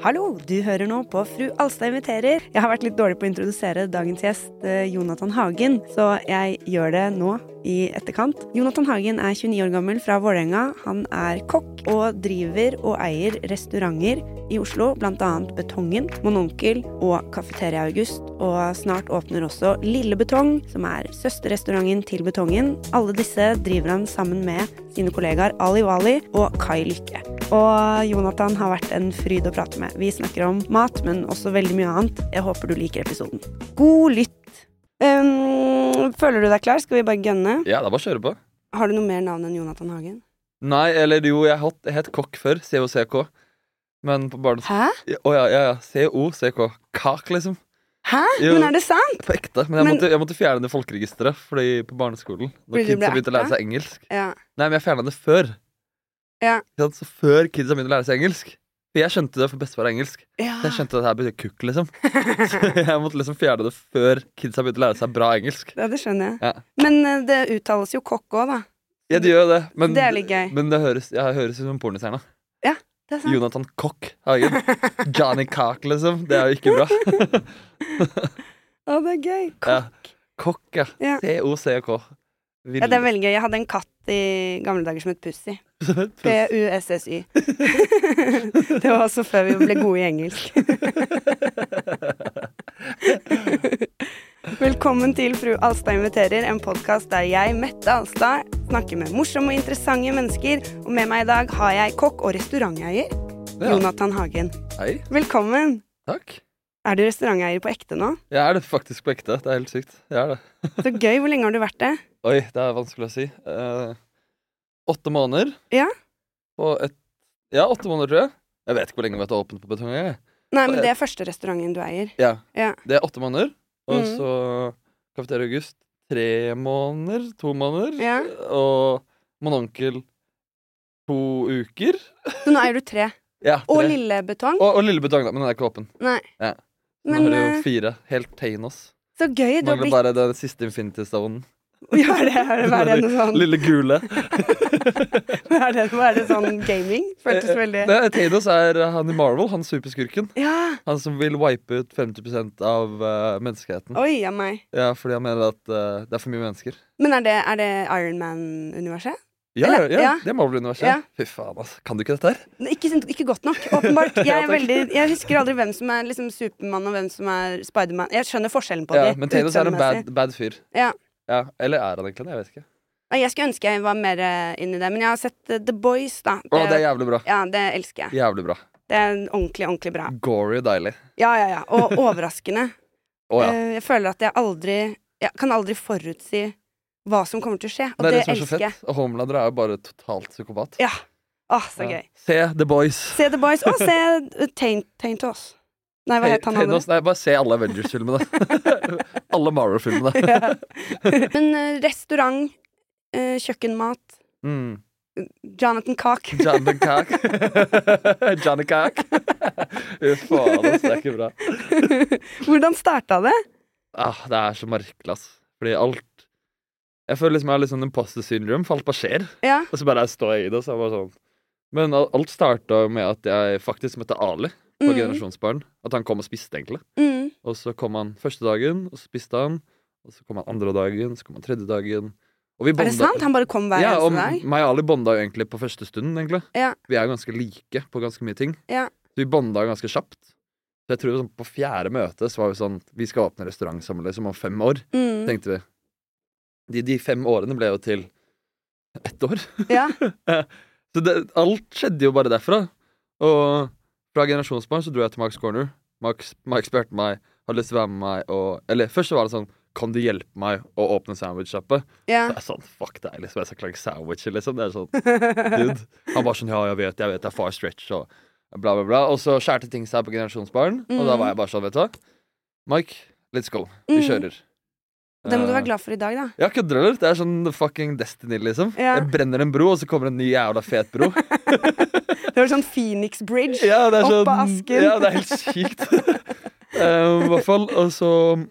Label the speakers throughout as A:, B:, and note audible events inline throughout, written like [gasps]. A: Hallo, du hører nå på Fru Alstad inviterer. Jeg har vært litt dårlig på å introdusere dagens gjest, eh, Jonathan Hagen, så jeg gjør det nå i etterkant. Jonathan Hagen er 29 år gammel fra Vålerenga. Han er kokk og driver og eier restauranter i Oslo, bl.a. Betongen, Mononkel og Kafeteria August. Og snart åpner også Lille Betong, som er søsterrestauranten til Betongen. Alle disse driver han sammen med sine kollegaer Ali Wali og Kai Lykke. Og Jonathan har vært en fryd å prate med. Vi snakker om mat, men også veldig mye annet. Jeg håper du liker episoden. God lytt! Ehm, føler du deg klar? Skal vi bare gønne?
B: Ja, det er bare å kjøre på.
A: Har du noe mer navn enn Jonathan Hagen?
B: Nei, eller jo, jeg het, jeg het kokk før. COCK. Men på barne...
A: Hæ?
B: Å ja, ja, ja. COCK. Kak, liksom.
A: Hæ?
B: Jo.
A: Men er det sant?
B: På ekte. Men jeg,
A: Men-
B: måtte, jeg måtte fjerne det i folkeregisteret Fordi på barneskolen.
A: Fordi du
B: Når
A: ble
B: kidsa begynte å lære
A: erta?
B: seg engelsk.
A: Ja.
B: Nei, men jeg fjerna det før.
A: Ja.
B: Ikke sant? Så før kidsa begynte å lære seg engelsk. For jeg skjønte det, for bestefar er engelsk. Så
A: ja.
B: jeg skjønte at det her betyr kukk,
A: [laughs]
B: liksom. Så jeg måtte liksom fjerne det før kidsa begynte å lære seg bra engelsk.
A: Ja, det skjønner jeg.
B: Ja.
A: Men eh, det uttales jo kokk òg, da.
B: Ja, de gjør jo det, men
A: Det er litt gøy.
B: Men det høres, jeg høres ut som en pornostjerne.
A: Det er sant.
B: Jonathan Cock Hagen. Johnny Cock, liksom. Det er jo ikke
A: [laughs]
B: bra.
A: Å, det er gøy. Kokk.
B: Ja. Cock, ja.
A: Ja.
B: C-O-C-K.
A: Ja, det er veldig gøy. Jeg hadde en katt i gamle dager som het Pussy. P-U-S-S-Y. [laughs] det var også før vi ble gode i engelsk. [laughs] Velkommen til Fru Alstad inviterer, en podkast der jeg, Mette Alstad, snakker med morsomme og interessante mennesker. Og med meg i dag har jeg kokk og restauranteier
B: Ja.
A: Jonathan Hagen.
B: Hei,
A: Velkommen!
B: takk.
A: Er du restauranteier på ekte nå?
B: Jeg er det faktisk på ekte. Det er helt sykt. Jeg er det.
A: Så gøy. Hvor lenge har du vært det?
B: Oi, det er vanskelig å si. Eh, åtte måneder.
A: Ja.
B: Og et Ja, åtte måneder, tror jeg. Jeg vet ikke hvor lenge vi har vært åpent på betong. jeg.
A: Nei, men det er første restauranten du eier.
B: Ja.
A: Ja.
B: Det er åtte måneder. Og
A: Mhm.
B: så Kafeteria August tre måneder, to måneder.
A: Ja.
B: Og Mononkel to uker.
A: Så nå eier du tre.
B: Ja,
A: Og
B: tre.
A: Lille Betong.
B: og, og Lille Betong, da, men den er ikke åpen.
A: Nei.
B: Ja. Den
A: Men
B: har
A: eh,
B: jo fire. Helt tegnos.
A: så gøy. Du har blitt
B: Mangler bare den siste Infinity Stonen.
A: [laughs] Ja, er det, er det, hva er det noe sånn
B: Lille
A: [laughs]
B: gule.
A: hva er det, hva er det sånn gaming? Føltes veldig
B: Eh, Det, Thanos er eh, han i Marvel, han superskurken.
A: Ja!
B: Han som vil wipe ut 50 av eh, menneskeheten.
A: Oi a meg.
B: Ja, fordi han mener at eh, det er for mye mennesker.
A: Men er det, er det Ironman-universet?
B: Ja, ja,
A: Eller-
B: ja,
A: ja.
B: det er Marvel-universet.
A: Ja.
B: Fy faen, altså. Kan du ikke dette her?
A: Nei, Ikke, sint- ikke godt nok, åpenbart. Jeg,
B: [laughs] Ja,
A: er
B: takk.
A: veldig, jeg husker aldri hvem som er liksom Supermann og hvem som er Spiderman. Jeg skjønner forskjellen på
B: Ja,
A: de.
B: men Thanos er en
A: utseendemessig.
B: bad, bad fyr.
A: Ja.
B: Ja, Eller er han egentlig det? Jeg vet ikke.
A: Nei, Jeg skulle ønske jeg var mer eh, inn i det, men jeg har sett eh, The Boys, da.
B: Å, det er jævlig bra.
A: ja, det elsker jeg.
B: Jævlig bra.
A: Det er ordentlig, ordentlig bra.
B: Gory og deilig.
A: Ja, ja, ja.
B: [laughs]
A: Og overraskende.
B: Å ja.
A: Eh, Jeg føler at jeg aldri Jeg kan aldri forutsi hva som kommer til å skje, og det,
B: Det er det som er så
A: elsker jeg.
B: fett. Og Homelander er jo bare totalt psykopat.
A: Ja. Åh, så
B: Ja.
A: gøy.
B: Se The Boys.
A: Se The Boys, og se uh, Taint, Taintos. Nei, hva het han
B: Hey,
A: andre?
B: Thanos, nei, bare se alle Avengers-filmene. [laughs] alle Marvel-filmene.
A: Ja. [laughs] Men eh, restaurant, eh, kjøkkenmat,
B: Mm. [laughs]
A: Jonathan Cock. [laughs]
B: Johnny Cock. [laughs] Johnny Cock. [laughs] Fy faen, ass, det er ikke bra.
A: Hvordan starta det?
B: Ah, det er så merkelig, ass. Fordi alt Jeg føler liksom jeg har litt sånn imposter syndrome, for alt bare skjer.
A: Ja.
B: Og så bare står jeg i det, så er det bare sånn. Men al- alt starta med at jeg faktisk møtte Ali på
A: Mm,
B: Generasjonsbarn. At han kom og spiste, egentlig.
A: mm,
B: Og så kom han første dagen, og så spiste han. Og så kom han andre dagen, så kom han tredje dagen. Og vi
A: er det sant? Han bare kom hver
B: ja, og
A: eneste dag?
B: meg og Ali bonda jo egentlig på første stunden, egentlig.
A: Ja.
B: Vi er jo ganske like på ganske mye ting.
A: Ja.
B: Så vi bonda ganske kjapt. Så jeg tror sånn, på fjerde møte så var vi sånn Vi skal åpne restaurant sammen liksom om fem år,
A: Mm,
B: tenkte vi. De, de fem årene ble jo til ett år.
A: ja.
B: Så det, alt skjedde jo bare derfra. Og fra generasjonsbarn så dro jeg til Max Corner. Max, Max spurte meg har du lyst til å være med meg og Eller først så var det sånn Kan du hjelpe meg å åpne sandwichsjappe?
A: ja.
B: [laughs] Det er sånn, fuck deg, liksom. Jeg skal ikke lage sandwicher, liksom. Det er sånn, dude. Han bare sånn, ja, jeg vet, jeg vet, det er far stretch, og bla, bla, bla. Og så skjærte ting seg på generasjonsbaren, og da
A: Mhm.
B: var jeg bare sånn, vet du hva. Mike, let's go. Vi
A: Mhm.
B: kjører.
A: Det må du
B: Eh,
A: være glad for i dag, da.
B: Ja, kødder du, eller? Det er sånn fucking destiny, liksom.
A: Ja.
B: Jeg brenner en bro, og så kommer en ny jævla fet bro.
A: Det var sånn Phoenix Bridge.
B: ja, det er sånn,
A: Opp av asken.
B: Ja, det er helt
A: [laughs]
B: sykt. Eh, I hvert fall, og så...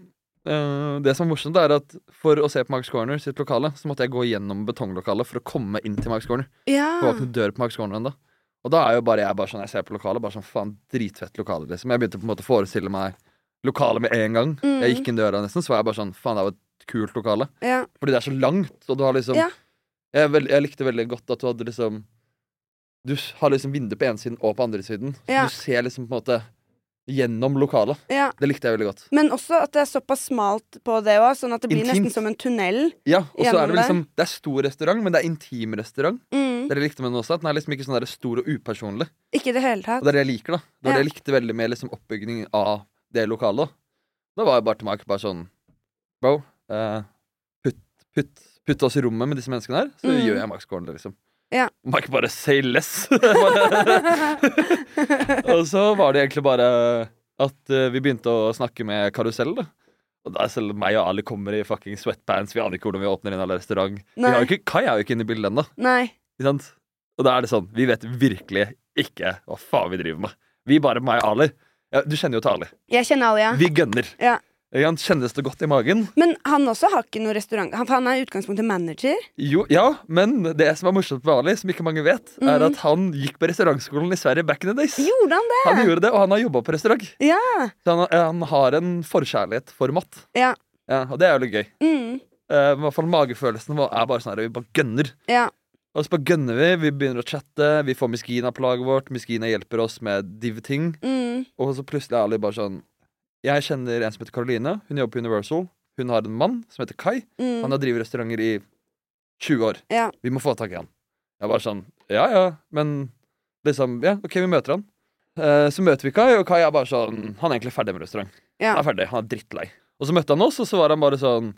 B: eh, det som er morsomt er at For å se på Max Corner sitt lokale Så måtte jeg gå gjennom betonglokalet For å komme inn til Max Corner
A: Ja.
B: det var ikke noen dør på Max Corner ennå. Og da er jo bare jeg bare sånn, jeg ser på lokalet, bare sånn faen, dritfett lokale, liksom. Jeg begynte på en måte å forestille meg lokalet med en gang.
A: Mm.
B: Jeg gikk inn døra nesten, så var jeg bare sånn, faen, det er jo et kult lokale.
A: Ja.
B: Fordi det er så langt, og du har liksom
A: Ja.
B: jeg, er veld, jeg likte veldig godt at du hadde liksom Du s- har liksom vindu på ene siden og på andre siden. Så
A: Ja.
B: du ser liksom på en måte gjennom lokalet.
A: ja.
B: Det likte jeg veldig godt.
A: Men også at det er såpass smalt på det òg, sånn at det blir
B: Intimt.
A: nesten som en tunnel.
B: Ja, og så er
A: Gjennom
B: Det vel liksom Det er stor restaurant, men det er intim restaurant.
A: Mm.
B: Det jeg likte med den også, at den er liksom ikke sånn der stor og upersonlig.
A: Ikke i det hele
B: Og [laughs]
A: tatt. [laughs]
B: det er det jeg liker, da. Det var
A: Ja.
B: det jeg likte veldig med liksom oppbyggingen av det lokalet. Da Da var jeg bare til Mark bare sånn Bro, eh, putt, putt, putt oss i rommet med disse menneskene her, så
A: Mm.
B: gjør jeg Max Gordon det, liksom.
A: Ja.
B: Mark bare say less.
A: [laughs]
B: og så var det egentlig bare at eh, vi begynte å snakke med Karusell, da. Og da selv meg og Ali kommer i fucking sweatpants, vi aner ikke hvordan vi åpner inn eller restaurant. Vi har
A: Nei.
B: jo ikke, Kai er jo ikke inne i bildet ennå.
A: Nei.
B: Ikke sant? Og da er det sånn, vi vet virkelig ikke hva faen vi driver med. Vi bare meg og Ali. Ja, du kjenner jo til Ali.
A: Jeg kjenner Alia.
B: Vi gønner.
A: Ja.
B: Han kjennes det godt i magen?
A: Men han også har ikke noe restaurant. Han, for han er i utgangspunktet manager.
B: Jo, ja, men det som er morsomt med Ali, som ikke mange vet, er
A: Mhm.
B: at han gikk på restaurantskolen i Sverige back in the days.
A: Gjorde han det?
B: Han gjorde det, og han har jobba på restaurant.
A: Ja.
B: Så han, han har en forkjærlighet for mat.
A: Ja.
B: Ja, og det er jo litt gøy.
A: Mm.
B: Eh, I hvert fall magefølelsen vår er bare sånn her, vi bare gønner.
A: Ja.
B: Og så bare gønner vi, vi begynner å chatte, vi får Miskina på laget vårt, Miskina hjelper oss med div-ting.
A: Mm.
B: Og så plutselig er Ali bare sånn Jeg kjenner en som heter Karoline. Hun jobber på Universal. Hun har en mann som heter Kai.
A: Mm.
B: Han har drevet restauranter i 20 år.
A: Ja.
B: Vi må få tak i han. Jeg bare sånn Ja ja, men liksom Ja, OK, vi møter han. Eh, så møter vi Kai, og Kai er bare sånn Han er egentlig ferdig med restaurant.
A: Ja.
B: Han er ferdig, han er drittlei. Og så møtte han oss, og så var han bare sånn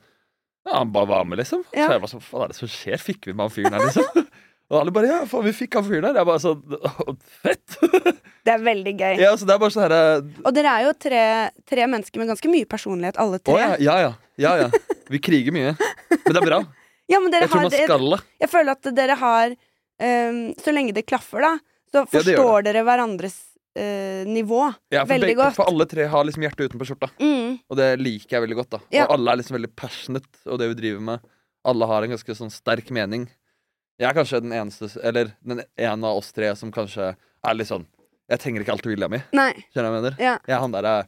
B: Ja, han bare var med, liksom.
A: Ja.
B: Så jeg bare sånn Hva er det som skjer? Fikk vi med han fyren her,
A: [laughs]
B: liksom? og alle bare Ja, faen, vi fikk han fyren her. Jeg bare sånn [laughs] «Å, Fett!
A: Det er veldig gøy.
B: ja, så det er bare sånn herre
A: Og dere er jo tre, tre mennesker med ganske mye personlighet, alle
B: Å
A: tre.
B: ja, ja, ja, ja, ja. Vi kriger mye. Men det er bra.
A: Ja, men [laughs] dere
B: Jeg tror
A: har,
B: man skal det.
A: Jeg føler at dere har ehm, Så lenge det klaffer, da, så
B: Ja, det gjør
A: forstår dere hverandres eh, nivå.
B: Ja, for,
A: Veldig
B: begge,
A: godt.
B: for alle tre har liksom hjertet utenpå skjorta,
A: Mm.
B: og det liker jeg veldig godt. da
A: Ja.
B: Og alle er liksom veldig passionate, og det vi driver med. Alle har en ganske sånn sterk mening. Jeg er kanskje den eneste Eller den ene av oss tre som kanskje er litt sånn Jeg trenger ikke alt vilja mi.
A: Nei.
B: Skjønner du hva jeg mener?
A: Ja.
B: Jeg er han der eh, er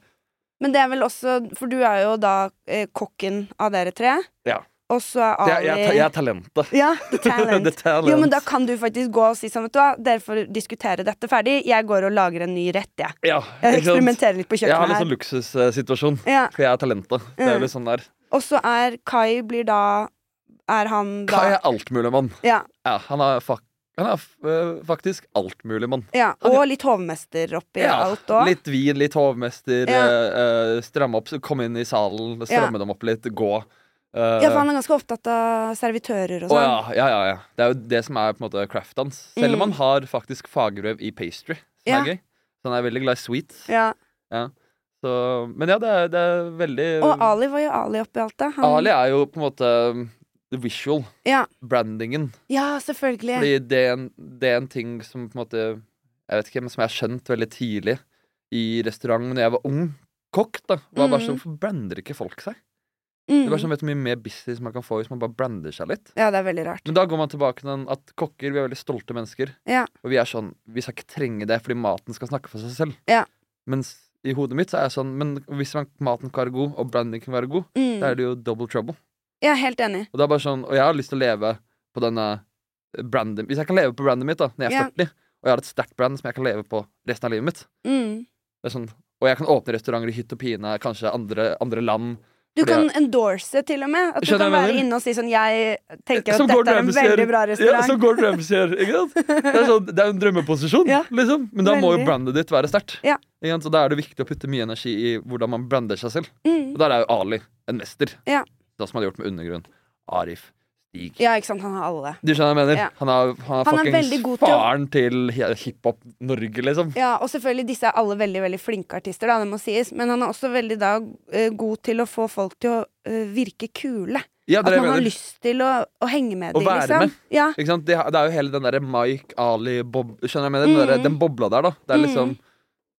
A: Men det er vel også For du er jo da eh, kokken av dere tre.
B: Ja.
A: Og så er Ali
B: Jeg, jeg, er ta- jeg er talentet. [laughs]
A: Ja, the talent.
B: The talent.
A: Jo, men da kan du faktisk gå og si sånn, vet du hva, dere får diskutere dette ferdig. Jeg går og lager en ny rett, jeg. Jeg
B: ja, ikke sant?
A: eksperimenterer litt på
B: Jeg har
A: kjøkkenet
B: litt
A: her.
B: sånn luksussituasjon,
A: Ja.
B: for jeg er talentet. Det
A: Mm.
B: er jo litt sånn der
A: Og så er Kai blir da Er han da
B: Kai er altmuligmann.
A: Ja.
B: Ja, han er, fak han er f- øh, faktisk altmulig mann.
A: ja. Og litt hovmester oppi alt òg.
B: litt vin, litt hovmester,
A: Ja.
B: øh, øh, stramme opp, så komme inn i salen, stramme dem opp litt, gå. øh,
A: Ja, for han er ganske opptatt av servitører og
B: å,
A: sånn.
B: ja, ja, ja, ja. Det er jo det som er på en måte craft hans. Selv om
A: Mm.
B: han har faktisk fagbrev i pastry,
A: Ja.
B: som er gøy. Så han er veldig glad i sweets.
A: ja.
B: Så, men ja, det er, det er veldig
A: Og Ali var jo Ali oppi alt det. Han-
B: Um, Ali er jo på en måte øh, the visual.
A: Ja.
B: Brandingen.
A: Ja, selvfølgelig.
B: Fordi det er, en, det er en ting som på en måte Jeg vet ikke, men som jeg har skjønt veldig tidlig i restaurant når jeg var ung kokk, da, var bare sånn Hvorfor brander ikke folk seg? Det
A: Mm.
B: er bare sånn, vet du hvor mye mer business man kan få hvis man bare brander seg litt?
A: Ja, det er veldig rart.
B: Men da går man tilbake til den at kokker vi er veldig stolte mennesker.
A: Ja.
B: Og vi er sånn Vi skal ikke trenge det fordi maten skal snakke for seg selv.
A: Ja.
B: Mens i hodet mitt så er jeg sånn Men hvis man, maten kan være god, og branding kan være god, da
A: Mm.
B: er det jo double trouble.
A: Jeg er helt enig.
B: Og det er bare sånn Og jeg har lyst til å leve på denne branden Hvis jeg kan leve på brandet mitt da når jeg er
A: Ja.
B: 40, og jeg har et sterkt brand som jeg kan leve på resten av livet mitt
A: Mm.
B: Det er sånn Og jeg kan åpne restauranter i hytt og pine, kanskje andre, andre land.
A: Du
B: Fordi
A: kan endorse, til og med. At du
B: Skjønner
A: kan
B: jeg hva jeg
A: være
B: mener?
A: inne og si sånn Jeg tenker at
B: Som Gordon
A: dette er en
B: Ramsay gjør.
A: veldig bra
B: Ja,
A: restaurant.
B: som Gordon Ramsay gjør. Ikke
A: [laughs]
B: sant? Det er, sånn, det er en drømmeposisjon,
A: Ja,
B: liksom. Men da må
A: veldig.
B: jo brandet ditt være sterkt.
A: Ja.
B: Ikke sant? Så da er det viktig å putte mye energi i hvordan man brander seg selv.
A: Mm.
B: Og der er jo Ali en mester.
A: Ja.
B: Det som han har gjort med Undergrunn. Arif. Stig.
A: Ja, ikke sant. Han har alle.
B: Du skjønner hva jeg mener?
A: Ja.
B: Han er, han er
A: Han er
B: fuckings
A: veldig god til å-
B: faren til he- hiphop-Norge, liksom.
A: Ja, og selvfølgelig, disse er alle veldig veldig flinke artister, da, det må sies. Men han er også veldig da eh, god til å få folk til å eh, virke kule.
B: Ja,
A: At
B: det er det
A: man
B: jeg
A: har
B: mener.
A: lyst til å, å henge med
B: Å
A: dem,
B: være
A: liksom.
B: med.
A: Ja.
B: Ikke sant? Det, det er jo hele den derre Mike, Ali, Bob Skjønner jeg hva jeg mener? Den, derre-
A: Mhm.
B: den bobla der, da. Det er
A: Mhm.
B: liksom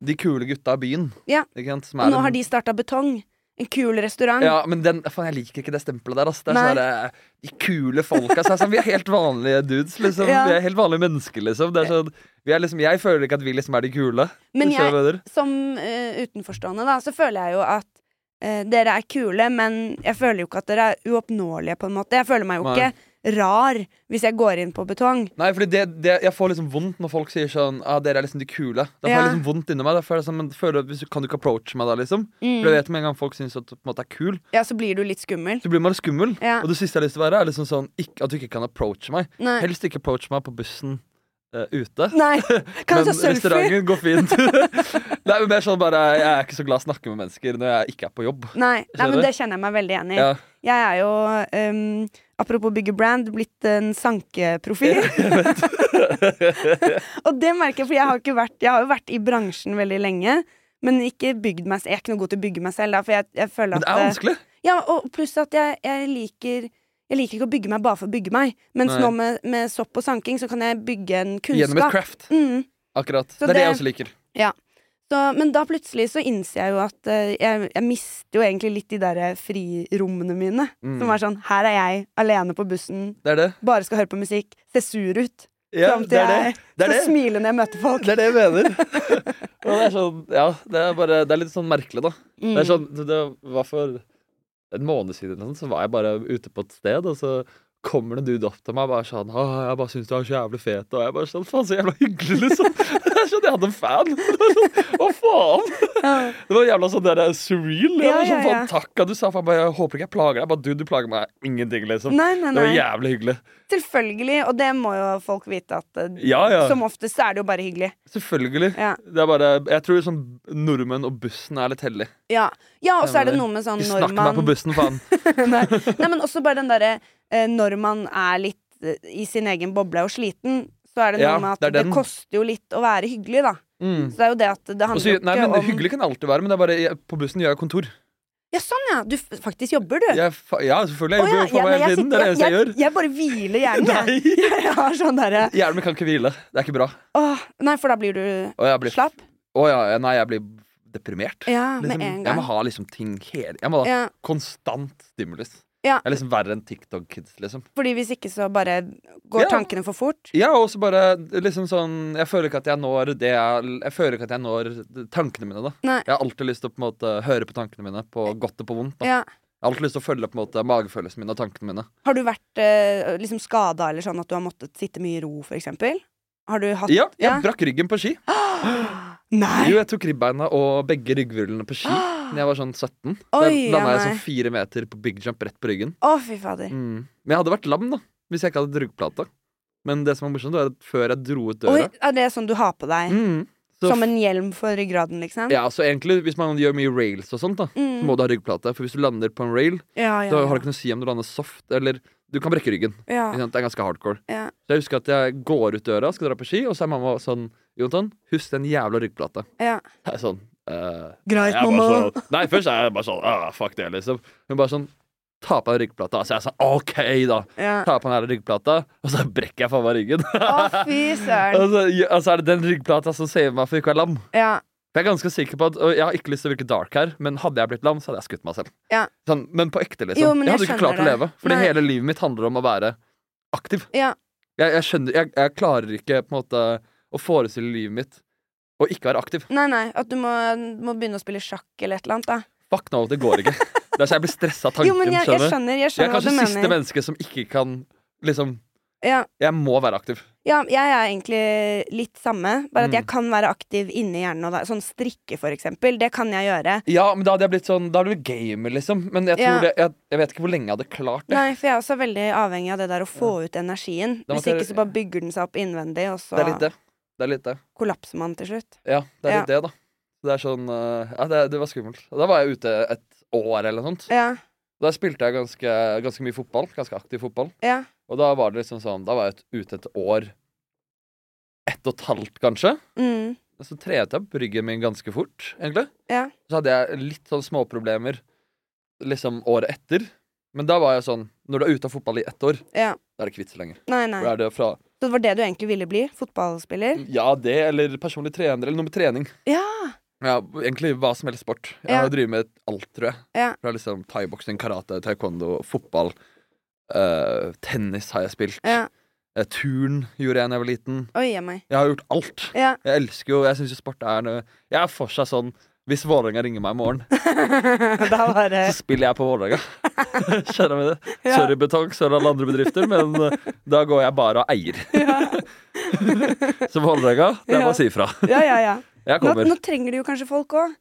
B: de kule gutta i byen.
A: Ja.
B: Ikke sant? Som
A: Og
B: er
A: nå
B: en-
A: har de starta Betong. En kul restaurant.
B: Ja, men den, faen, jeg liker ikke det stempelet der. Ass. Det er
A: Nei.
B: sånn der, eh, De kule folka. Så er det sånn, vi er helt vanlige dudes. Liksom.
A: Ja.
B: Vi er helt vanlige mennesker, liksom. Det er sånn, Vi er liksom, jeg føler ikke at vi liksom er de kule.
A: Men
B: Hvis du skjønner
A: jeg,
B: hva jeg mener.
A: som eh, utenforstående, da, så føler jeg jo at eh, dere er kule, men jeg føler jo ikke at dere er uoppnåelige, på en måte. Jeg føler meg jo
B: Nei.
A: ikke rar hvis jeg går inn på betong.
B: Nei, fordi det, det, jeg får liksom vondt når folk sier sånn ah, dere er liksom de kule. Da får
A: Ja.
B: jeg liksom vondt inni meg. Da føler jeg sånn, men føler jeg, hvis du, Kan du ikke approache meg da, liksom? For
A: Mm.
B: jeg vet med en gang folk syns at du på en måte er kul,
A: Ja, så blir du litt skummel.
B: så blir man skummel.
A: Ja.
B: Og det siste jeg har lyst til å være, er liksom sånn ikke, at du ikke kan approache meg.
A: Nei.
B: Helst ikke approach meg på bussen eh, ute. [laughs]
A: Nei. Kan jeg ta
B: men
A: selfie?
B: restauranten går fint. [laughs] Nei, men mer sånn bare Jeg er ikke så glad i å snakke med mennesker når jeg ikke er på jobb.
A: Nei. Nei,
B: Skjønner.
A: men det kjenner jeg meg veldig igjen i.
B: Ja.
A: Jeg er jo, ehm, apropos bygge brand, blitt en sankeprofil. [laughs] og det merker jeg, for jeg har, ikke vært, jeg har jo vært i bransjen veldig lenge. Men ikke bygd meg, jeg er ikke noe god til å bygge meg selv. Da, for jeg, jeg føler at
B: Men
A: eh,
B: det er vanskelig.
A: Ja, og pluss at jeg, jeg liker jeg liker ikke å bygge meg bare for å bygge meg. Mens
B: Nei.
A: nå med, med sopp og sanking så kan jeg bygge en
B: Gjennom et
A: kunnskap.
B: craft.
A: Mm.
B: Akkurat.
A: Så
B: det er det jeg
A: det-
B: også liker.
A: Så, men da plutselig så innser jeg jo at eh, jeg, jeg mister jo egentlig litt de der frirommene mine.
B: Mm.
A: Som er sånn her er jeg alene på bussen,
B: Det er det.
A: bare skal høre på musikk, se sur ut.
B: Ja,
A: fram til
B: det er det.
A: jeg
B: Det er
A: skal
B: det.
A: smile når jeg møter folk.
B: Det er det jeg [laughs] mener. Og det er sånn, ja, det er bare Det er litt sånn merkelig, da. Det
A: Mm.
B: er sånn, det var for en måned siden eller noe sånt, så var jeg bare ute på et sted, og så kommer det en dude opp til meg og bare sånn Åh, jeg bare syns du er så jævlig fet, og jeg bare sånn Faen, så jævla hyggelig, liksom. [laughs] Det er sånn, jeg hadde en fan. [laughs] Det var sånn, Hva faen?
A: Ja.
B: Det var jævla sånn der eh, surreal. Det
A: Ja,
B: var sånn,
A: ja,
B: faen, takk at du sa faen, bare, jeg håper ikke jeg plager deg. Jeg bare, du, du plager meg ingenting, liksom.
A: Nei, nei,
B: Det var
A: nei.
B: jævlig hyggelig.
A: Selvfølgelig. Og det må jo folk vite at eh,
B: Ja, ja.
A: som oftest så er det jo bare hyggelig.
B: Selvfølgelig.
A: Ja.
B: Det er bare, jeg tror sånn nordmenn og bussen er litt hellig.
A: Ja, ja og så er det
B: Stemmer.
A: noe med sånn
B: Ikke
A: når
B: snakk med meg på
A: man
B: bussen, faen.
A: Nei. [laughs] Nei, men også bare den derre eh, når man er litt eh, i sin egen boble og sliten, så er det noe
B: Ja,
A: med at
B: det er
A: det,
B: den.
A: koster jo litt å være hyggelig, da.
B: Mm.
A: [laughs] Så det er jo det at det
B: Og
A: handler
B: så-
A: jo
B: nei,
A: ikke
B: men
A: om
B: Hyggelig kan det alltid være, men det er bare jeg, på bussen gjør jeg kontor.
A: Ja, sånn, ja! Du f- faktisk jobber, du.
B: Jeg, fa- ja, selvfølgelig. Jeg
A: Å, ja,
B: jobber jo for
A: ja, men
B: meg hele tiden. Det er det eneste jeg
A: jeg,
B: gjør.
A: jeg, jeg bare hviler hjernen, jeg.
B: [laughs] Nei,
A: [laughs] Jeg har sånn derre
B: Hjernen min kan ikke hvile. Det er ikke bra.
A: Åh, nei, for da blir du
B: Og jeg blir,
A: slapp?
B: å, ja, ja, nei, jeg blir deprimert.
A: Ja, med
B: Liksom,
A: en
B: jeg må
A: gang.
B: ha liksom ting hele Jeg må ha
A: Ja,
B: konstant stimulus.
A: Ja.
B: Jeg er liksom verre enn TikTok-kids, liksom.
A: fordi hvis ikke så bare går
B: Ja.
A: tankene for fort.
B: Ja, og så bare liksom sånn Jeg føler ikke at jeg når det jeg Jeg føler ikke at jeg når tankene mine, da.
A: Nei.
B: Jeg har alltid lyst til å på en måte høre på tankene mine, på godt og på vondt. da
A: Ja.
B: Jeg har alltid lyst til å følge på en måte magefølelsen min og tankene mine.
A: Har du vært eh, liksom skada eller sånn at du har måttet sitte mye i ro, for eksempel? Har du hatt
B: Ja, jeg
A: Ja.
B: brakk ryggen på ski.
A: [gasps] Nei! Ah.
B: Jo, jeg tok ribbeina og begge ryggvirvlene på ski Da jeg var sånn 17. Da
A: Oi, ja,
B: landa jeg
A: nei.
B: sånn fire meter på big jump rett på ryggen.
A: Å, fy fader.
B: Mm. Men jeg hadde vært lam da hvis jeg ikke hadde ryggplata. Men det som er morsomt, er at før jeg dro ut
A: Oi,
B: døra
A: er det sånn du har på deg?
B: mm, så,
A: Som en hjelm for ryggraden, liksom?
B: Ja, så egentlig Hvis man gjør mye rails og sånt, da så
A: Mm.
B: må du ha ryggplate. For hvis du lander på en rail,
A: ja, ja,
B: så har
A: ja. Ah.
B: det ikke noe å si om du lander soft eller Du kan brekke ryggen.
A: ja.
B: Ikke sant? Det er ganske hardcore.
A: Ja.
B: Så jeg husker at jeg går ut døra, skal dra på ski, og så er mamma sånn Jonathan, husk den jævla ryggplata.
A: Ja.
B: Det er sånn eh,
A: Greit,
B: Jeg
A: mamma.
B: bare sånn, nei, først er jeg bare sånn ah, Fuck det, liksom. Hun bare sånn Ta på deg ryggplata. Så jeg sa OK, da.
A: Ja.
B: [laughs] Ta på den her ryggplata, og så brekker jeg faen meg ryggen.
A: Å, fy søren.
B: og, så, ja, og så er det den ryggplata som saver meg for ikke å være lam.
A: Ja.
B: For Jeg er ganske sikker på at og Jeg har ikke lyst til å virke dark her, men hadde jeg blitt lam, så hadde jeg skutt meg selv.
A: Ja.
B: Sånn, men på ekte, liksom.
A: Jo, men
B: jeg hadde
A: jeg
B: ikke klart å
A: skjønner
B: leve. Fordi
A: Nei.
B: hele livet mitt handler om å være aktiv.
A: Ja.
B: Jeg, jeg skjønner jeg, jeg klarer ikke på en måte å forestille livet mitt å ikke være aktiv.
A: Nei, nei. At du må, må begynne å spille sjakk eller et eller annet, da.
B: Fuck no, det går
A: [laughs]
B: ikke. Det er så jeg blir stressa av tanken.
A: jo, men jeg,
B: skjønner
A: jeg
B: du?
A: skjønner, jeg
B: Jeg er
A: skjønner hva du
B: kanskje siste
A: mener.
B: menneske som ikke kan Liksom,
A: Ja.
B: jeg må være aktiv.
A: ja, jeg er egentlig litt samme, bare at
B: Mm.
A: jeg kan være aktiv inni hjernen. Og da, sånn strikke, for eksempel. Det kan jeg gjøre.
B: Ja, men da hadde jeg blitt sånn Da hadde jeg blitt gamer, liksom. Men jeg, tror
A: Ja.
B: det, jeg, jeg vet ikke hvor lenge jeg hadde klart det.
A: Nei, for jeg er også veldig avhengig av det der å få ut energien.
B: Da
A: Hvis
B: måtte jeg-
A: ikke så bare bygger den seg opp innvendig, og så
B: Det er litt det. Det er litt det.
A: kollapser man til slutt.
B: Ja, det er litt det, da. Det er sånn eh, Ja, det, det var skummelt. Og Da var jeg ute et år eller noe sånt.
A: Ja,
B: Da spilte jeg ganske, ganske mye fotball. Ganske aktiv fotball.
A: ja,
B: Og da var det liksom sånn Da var jeg ut- ute et år. Ett og et halvt, kanskje.
A: mm,
B: Så treet jeg opp ryggen min ganske fort, egentlig.
A: Ja.
B: Så hadde jeg litt sånn småproblemer liksom året etter. Men da var jeg sånn Når du er ute av fotball i ett år,
A: ja.
B: da er det ikke vits lenger.
A: Nei,
B: Da
A: nei.
B: er det fra
A: Så det var det du egentlig ville bli? Fotballspiller?
B: Ja, det, eller personlig trener, eller noe med trening.
A: Ja!
B: Ja, Egentlig hva som helst sport. Jeg
A: Ja.
B: har drevet med alt, tror jeg.
A: Ja.
B: Fra liksom thaiboksing, karate, taekwondo, fotball, eh, tennis har jeg spilt.
A: Ja.
B: Eh, Turn gjorde jeg da jeg var liten.
A: Oi, jeg meg.
B: Jeg har gjort alt.
A: [laughs] Ja.
B: Jeg elsker jo, jeg syns jo sport er noe Jeg er fortsatt sånn Hvis Vålerenga ringer meg i morgen,
A: da var det
B: så spiller jeg på Vålerenga. [laughs] Skjønner vi det?
A: Ja.
B: Sorry, Betong, sorry alle andre
A: [laughs]
B: bedrifter, men eh, da går jeg bare og eier. [laughs] så Vålerenga, det er
A: Ja.
B: bare å si ifra.
A: [laughs] Ja, ja, ja.
B: Jeg
A: Nå,
B: kommer.
A: nå trenger du jo kanskje folk òg.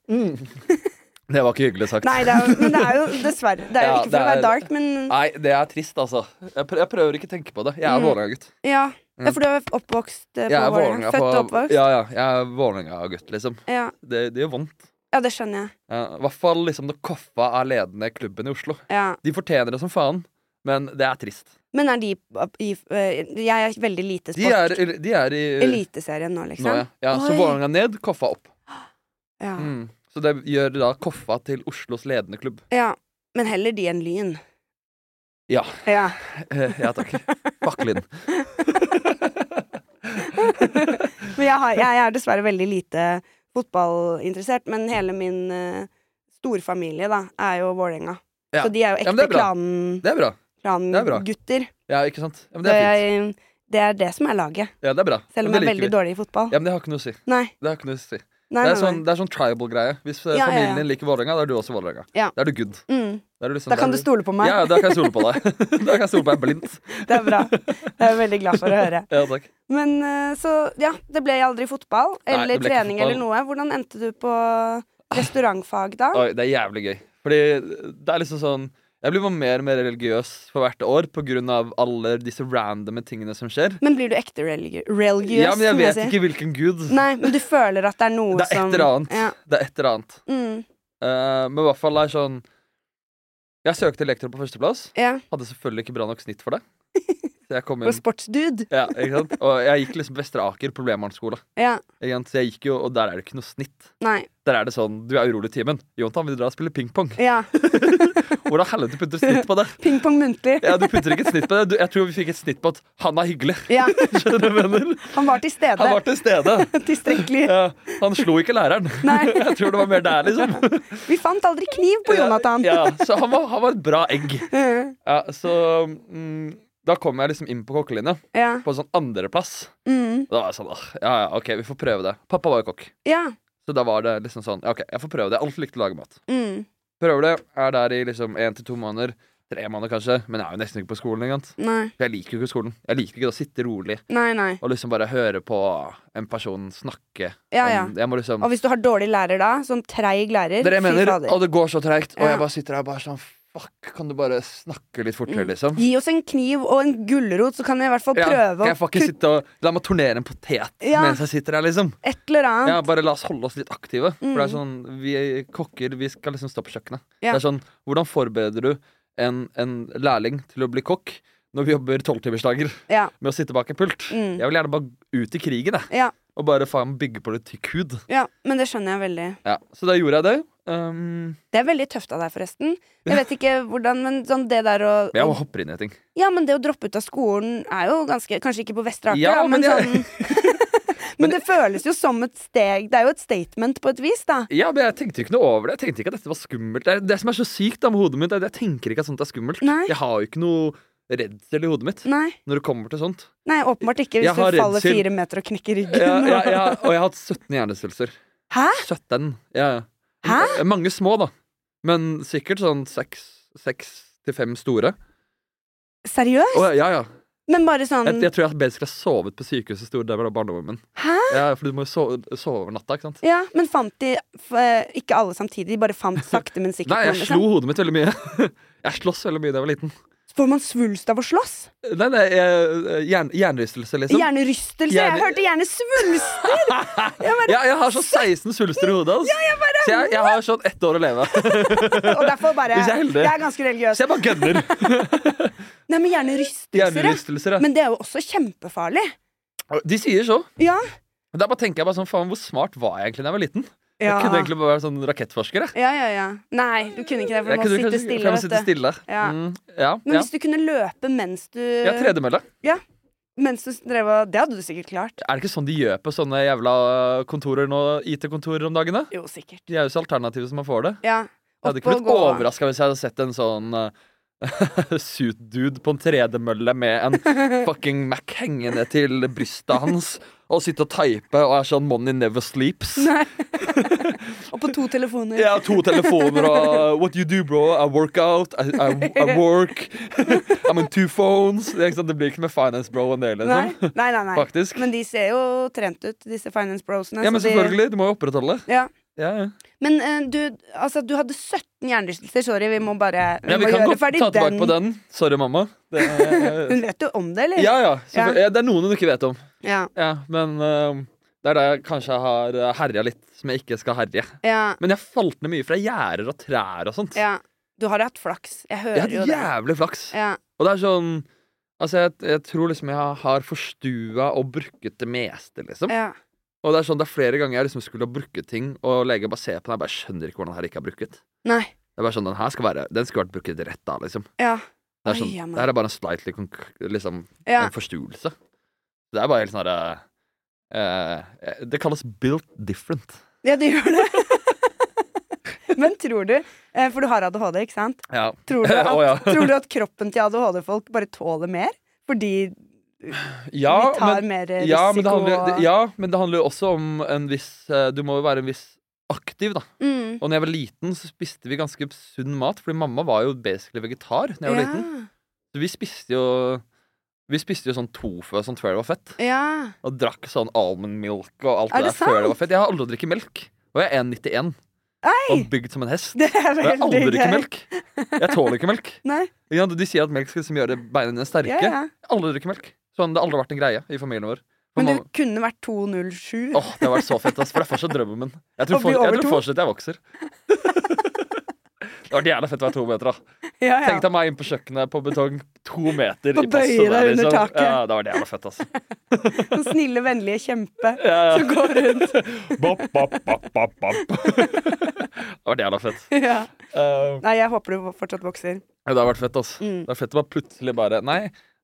B: Det var ikke hyggelig sagt.
A: Nei, det er, jo- men det er jo dessverre. Det er jo
B: Ja,
A: ikke for å
B: det
A: være
B: er- Ah.
A: dark, men
B: Nei, det er trist, altså. Jeg, prø- jeg prøver ikke å tenke på det. Jeg er
A: Mm.
B: Vålerenga-gutt.
A: ja.
B: Mm.
A: ja. For du er oppvokst eh,
B: Jeg
A: på
B: er
A: Vålerenga?
B: Vålerenga
A: Født og
B: på-
A: oppvokst?
B: Ja, ja, jeg er Vålerenga-gutt, liksom.
A: Ja.
B: Det, det gjør vondt.
A: ja, det skjønner jeg.
B: Ja, I hvert fall liksom når Koffa er ledende klubben i Oslo.
A: Ja.
B: De fortjener det som faen, men det er trist.
A: Men er de i, eh, Jeg er veldig lite
B: De
A: sport.
B: er, de er i
A: Eliteserien nå, liksom?
B: nå, ja. Ja, så
A: Oi.
B: Vålerenga ned, Koffa opp.
A: Ja.
B: Mm. Så det gjør da Koffa til Oslos ledende klubb. [laughs]
A: ja. Men heller de enn Lyn.
B: Ja.
A: ja.
B: Eh, Ja takk. Fuck Linn.
A: Men jeg, har, jeg er dessverre veldig lite fotballinteressert, men hele min uh, storfamilie da, er jo Vålerenga.
B: Ja.
A: Så de er jo
B: Ja, men
A: ekte
B: det er bra.
A: klanen-
B: Det er bra.
A: klangutter.
B: Det er bra. Ja, ikke sant? Ja, men
A: det,
B: det er fint.
A: er- det er det som er laget,
B: Ja, det er bra.
A: selv om
B: Men
A: jeg
B: det
A: er
B: liker
A: veldig
B: vi.
A: dårlig i fotball.
B: Ja, men det har ikke noe å si.
A: Nei,
B: Det har ikke noe å si.
A: nei,
B: Det
A: nei,
B: er sånn, det er sånn tribal-greie. Hvis eh,
A: Ja, ja,
B: familien
A: ja.
B: din liker Vålerenga, da er du også Vålerenga.
A: Ja.
B: Da er du good.
A: nei. Mm.
B: Da, er du liksom,
A: Da kan
B: da
A: du
B: er
A: stole på meg.
B: Ja, ja, da kan jeg stole på
A: [laughs]
B: deg. [laughs] da kan jeg stole på deg blindt.
A: Det er bra.
B: [laughs]
A: Jeg er veldig glad for å høre.
B: Ja, takk.
A: Men eh, så, ja, det ble aldri fotball
B: Nei,
A: eller
B: det ble ikke
A: trening
B: fotball. Ah.
A: eller noe. Hvordan endte du på restaurantfag da?
B: Oi, det er jævlig gøy. Fordi det er liksom sånn Jeg blir bare mer og mer religiøs for hvert år pga. alle disse randomme tingene som skjer.
A: Men blir du ekte religi- religiøs?
B: Ja, men jeg
A: må
B: vet
A: si?
B: ikke hvilken gud.
A: Nei, men du føler at det er noe
B: Det er et
A: som
B: eller annet.
A: Ja.
B: Det er et eller annet.
A: Mm,
B: Eh, men i hvert fall det er sånn Jeg søkte elektro på førsteplass.
A: ja.
B: Hadde selvfølgelig ikke bra nok snitt for det. Så jeg
A: [laughs]
B: kom
A: Og
B: inn.
A: sportsdude.
B: Ja, ikke sant? Og jeg gikk liksom Vestre Aker problembarnsskole.
A: Ja.
B: Ikke sant? Så jeg gikk jo, og der er det ikke noe snitt.
A: Nei.
B: Der er det sånn Du er urolig i timen. Jontan, vil du dra og spille pingpong?
A: Ja.
B: Hvordan helvete putter du snitt på det?
A: Pingpong muntlig.
B: Ja, du putter ikke et snitt på det. Du, jeg tror vi fikk et snitt på at han er hyggelig. [laughs]
A: Ja.
B: Skjønner du hva jeg mener?
A: Han var til stede.
B: Han var til stede.
A: [laughs] Tilstrekkelig.
B: Ja, han slo ikke læreren.
A: Nei.
B: [laughs] Jeg tror det var mer der, liksom.
A: Vi fant aldri kniv på Jonathan. [laughs]
B: Ja, så han var, han var et bra egg.
A: Mm,
B: Ja, så mm, da kom jeg liksom inn på kokkelinja,
A: Ja.
B: på en sånn andreplass.
A: Mm.
B: Da var jeg sånn ah, Ja, ja, OK, vi får prøve det. Pappa var jo kokk,
A: ja.
B: så da var det liksom sånn ja, OK, jeg får prøve det. Jeg har alltid likt å lage mat.
A: Mm.
B: Prøver det. Er der i liksom én til to måneder. Tre måneder, kanskje. Men jeg er jo nesten ikke på skolen engang.
A: Nei.
B: For jeg liker jo ikke skolen. Jeg liker ikke å sitte rolig.
A: Nei, nei.
B: Og liksom bare høre på en person snakke
A: Ja, ja.
B: om Jeg må liksom
A: Og hvis du har dårlig lærer da, sånn treig lærer
B: Dere
A: fy
B: mener
A: fader.
B: Og det går så treigt, og
A: Ja.
B: jeg bare sitter her og bare sånn Fuck, kan du bare snakke litt
A: Mm.
B: fortere, liksom?
A: Gi oss en kniv og en gulrot, så kan jeg i hvert fall
B: Ja,
A: prøve
B: kan
A: å
B: jeg fucking
A: kutte
B: sitte og La meg turnere en potet
A: Ja.
B: mens jeg sitter her, liksom.
A: et eller
B: Ja,
A: annet.
B: bare la oss holde oss litt aktive. For det er
A: Mm.
B: sånn Vi kokker, vi skal liksom stå på kjøkkenet.
A: Ja.
B: Det er sånn Hvordan forbereder du en, en lærling til å bli kokk når vi jobber tolvtimersdager
A: Ja.
B: med å sitte bak en pult?
A: Mm.
B: Jeg vil gjerne bare ut i krigen, jeg.
A: Ja.
B: Og bare faen bygge på litt tykk hud.
A: ja, men det skjønner jeg veldig.
B: Ja, så da gjorde jeg det. Um,
A: Det er veldig tøft av deg, forresten. Jeg vet ikke hvordan, men sånn det der å
B: men jeg må hoppe inn i ting.
A: Ja, men det å droppe ut av skolen er jo ganske Kanskje ikke på Vestre Aker,
B: Ja,
A: da, men,
B: men jeg-
A: sånn
B: [laughs]
A: Men det føles jo som et steg. Det er jo et statement på et vis, da.
B: Ja, men jeg tenkte jo ikke noe over det. Jeg tenkte ikke at dette var skummelt. Det, er- det som er så sykt da med hodet mitt, er at jeg tenker ikke at sånt er skummelt.
A: Nei.
B: Jeg har jo ikke noe redsel i hodet mitt
A: Nei,
B: når det kommer
A: [laughs]
B: til sånt.
A: nei åpenbart ikke hvis
B: Jeg har
A: du faller
B: redsel.
A: fire meter og knekker ryggen.
B: Ja, ja, ja, og jeg har hatt 17 hjernesvulster.
A: Hæ?
B: 17. Ja, ja.
A: Hæ?
B: Mange små, da. Men sikkert sånn seks seks til fem store.
A: Seriøst?
B: Og, ja, ja.
A: Men bare sånn
B: Jeg, jeg tror jeg basically har sovet på sykehuset stor del av barndommen min.
A: Hæ?
B: Ja, for du må jo sove, sove over natta, ikke sant?
A: Ja, men fant de f eh, Ikke alle samtidig, de bare fant sakte, men sikkert.
B: Nei,
A: noen,
B: jeg
A: liksom.
B: slo hodet mitt veldig mye. [laughs] Jeg sloss veldig mye da jeg var liten.
A: Får man svulst av å slåss?
B: Nei, nei, jeg- jern, jernrystelse, liksom.
A: Hjernerystelse?
B: Hjerne-
A: Jeg hørte hjernesvulster!
B: [laughs]
A: Jeg bare,
B: Ja, jeg har sånn 16 svulster i hodet. Altså. så jeg, jeg har sånn ett år å leve. [laughs]
A: Og derfor bare
B: Hvis jeg er heldig.
A: Jeg er ganske religiøs.
B: Så jeg bare gønner.
A: Nei, men hjernerystelser, ja.
B: Hjernerystelser. ja.
A: Men det er jo også kjempefarlig.
B: De sier så.
A: Ja.
B: Men Da bare tenker jeg bare sånn, faen, Hvor smart var jeg egentlig da jeg var liten?
A: Ja.
B: Jeg kunne egentlig bare være sånn rakettforsker. Jeg.
A: ja, ja, ja. Nei, du kunne ikke det, for du
B: Jeg
A: må
B: kunne
A: sitte
B: kanskje- for
A: stille.
B: jeg må
A: Vet
B: sitte
A: du.
B: stille.
A: Ja.
B: Mm, ja,
A: Men
B: ja.
A: hvis du kunne løpe mens du
B: ja tredemølle.
A: Mens du drev og Det hadde du sikkert klart.
B: Er det ikke sånn de gjør på sånne jævla eh, kontorer nå, IT-kontorer om dagene?
A: Jo, sikkert.
B: De er jo så alternative som man får det.
A: Ja.
B: Jeg
A: Opp
B: hadde ikke
A: og
B: blitt
A: gå.
B: overraska hvis jeg hadde sett en sånn [laughs] suit dude på en tredemølle med
A: [laughs]
B: en fucking Mac hengende til brystet hans og sitte og teipe og er sånn Money never
A: [laughs]
B: sleeps.
A: Nei. og på to telefoner.
B: Jeg har to telefoner og uh, What you do, bro? I work out. I, I,
A: [laughs]
B: I work. [laughs] I'm on two phones. Det, er ikke sant? det blir ikke med finance, bro, en del,
A: Nei,
B: liksom.
A: nei, nei, nei.
B: Faktisk.
A: Men de ser jo trent ut, disse finance brosene.
B: Ja, men
A: så de-
B: selvfølgelig. Du må jo opprettholde.
A: Ja.
B: Ja, ja.
A: Men eh, Altså, du, altså, du hadde 17 hjernerystelser. Sorry, vi må bare vi
B: Ja, vi
A: må
B: kan
A: gjøre
B: godt ta
A: ferdig
B: tilbake på den. Sorry, mamma. Det er, eh,
A: Hun vet jo om det, eller?
B: ja,
A: [laughs]
B: ja, selvfølgelig. ja. Det er noen hun ikke vet om.
A: Ja,
B: Ja, men eh, det er da jeg kanskje har eh, herja litt, som jeg ikke skal herje.
A: ja,
B: Men jeg falt ned mye fra gjerder og trær og sånt.
A: ja. Du har hatt flaks. Jeg
B: Jeg
A: hører jo
B: hadde
A: det.
B: jævlig flaks.
A: Ja,
B: Og det er sånn Altså, jeg, jeg tror liksom jeg har forstua og brukket det meste, liksom.
A: ja.
B: Og det er sånn, det er flere ganger jeg liksom skulle ha brukt ting, og legen bare ser på den, jeg bare skjønner ikke hvordan den her ikke er bruket.
A: Nei.
B: Det er bare sånn, Den her skal være, den skulle vært brukt rett da, liksom.
A: Ja.
B: Det er sånn,
A: Oi, ja, men.
B: det her er bare en slightly konk- liksom,
A: Ja.
B: en forstuelse. Det er bare helt sånn herre eh, Det kalles built different.
A: ja, du gjør det. [laughs] Men tror du eh, For du har ADHD, ikke sant?
B: Ja.
A: Tror du at,
B: [laughs] Å, ja.
A: tror du at kroppen til ADHD-folk bare tåler mer? Fordi
B: ja,
A: vi tar
B: men,
A: mer risiko?
B: ja, men det handler,
A: og-
B: det- ja, men det handler jo også om en viss eh, Du må jo være en viss aktiv, da.
A: Mm.
B: Og når jeg var liten, så spiste vi ganske sunn mat, fordi mamma var jo basically vegetar. Når jeg var liten Så vi spiste jo Vi spiste jo sånn tofu og sånt før det var fett.
A: Ja. ja.
B: Og drakk sånn almond milk og alt
A: Er
B: det,
A: det
B: der før det
A: sant?
B: var fett. Jeg har aldri drukket melk. Og jeg er 1,91 og bygd som en hest.
A: Det er
B: Og jeg har aldri
A: veldig
B: drukket
A: gøy.
B: melk. Jeg tåler ikke melk.
A: Nei.
B: Ikke sant? De sier at melk skal liksom gjøre beina dine sterke.
A: Ja, ja.
B: Aldri drikke melk. Sånn, Det har aldri vært en greie i familien vår. For
A: Men du
B: mamma-
A: kunne vært 207.
B: Åh, det har vært så fett, ass, for det er fortsatt drømmen min. Jeg
A: Å
B: tror,
A: bli
B: for, jeg
A: over to?
B: tror fortsatt jeg vokser. det hadde vært jævla fett å være to meter, da.
A: ja, ja.
B: Tenk deg meg inn på kjøkkenet på betong, to meter
A: Og
B: i passet
A: bøye
B: der, liksom.
A: deg under taket.
B: Ja, det var jævla fett, altså.
A: Den [laughs] snille, vennlige kjempe
B: [laughs] Ja,
A: som går rundt.
B: Bop, bop, bop, bop,
A: [laughs]
B: bop. det var jævla fett.
A: Ja.
B: Eh,
A: Nei, jeg håper du fortsatt vokser.
B: ja, det har vært fett, ass.
A: Mm.
B: Det er fett å bare plutselig bare Nei,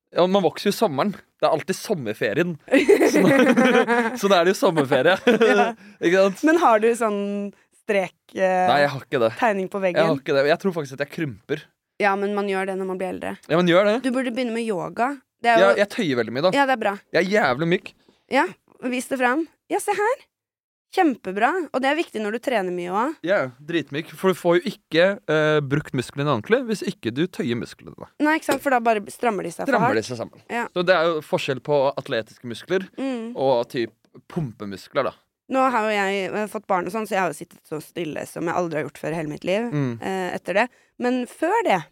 B: ja, man vokser jo i sommeren. Det er alltid sommerferien. [laughs] Så da er det jo sommerferie.
A: [laughs]
B: [laughs] Ikke sant?
A: Men har du sånn strek, eh,
B: Nei, jeg har ikke det.
A: tegning på
B: Jeg har
A: veggen?
B: ikke det. Jeg tror faktisk at jeg krymper.
A: Ja, men man gjør det når man blir eldre.
B: Ja, men gjør det.
A: Du burde begynne med yoga. Det er jo,
B: Jeg,
A: ja,
B: jeg tøyer veldig mye, da.
A: det er bra.
B: Jeg er jævlig myk.
A: Ja, vis det fram. Ja, se her. Kjempebra. Og det er viktig når du trener mye òg.
B: Jeg er dritmyk. For du får jo ikke eh, brukt musklene ordentlig hvis ikke du tøyer musklene. Da.
A: Nei, ikke sant, for da bare strammer de seg for
B: Strammer
A: hardt.
B: de seg sammen.
A: Altså, Ja.
B: Så det er jo forskjell på atletiske muskler
A: Mm.
B: og typ pumpemuskler, da.
A: Nå har jo jeg eh, fått barn og sånn, så jeg har jo sittet så stille som jeg aldri har gjort før i hele mitt liv.
B: Mm.
A: eh, etter det. Men før det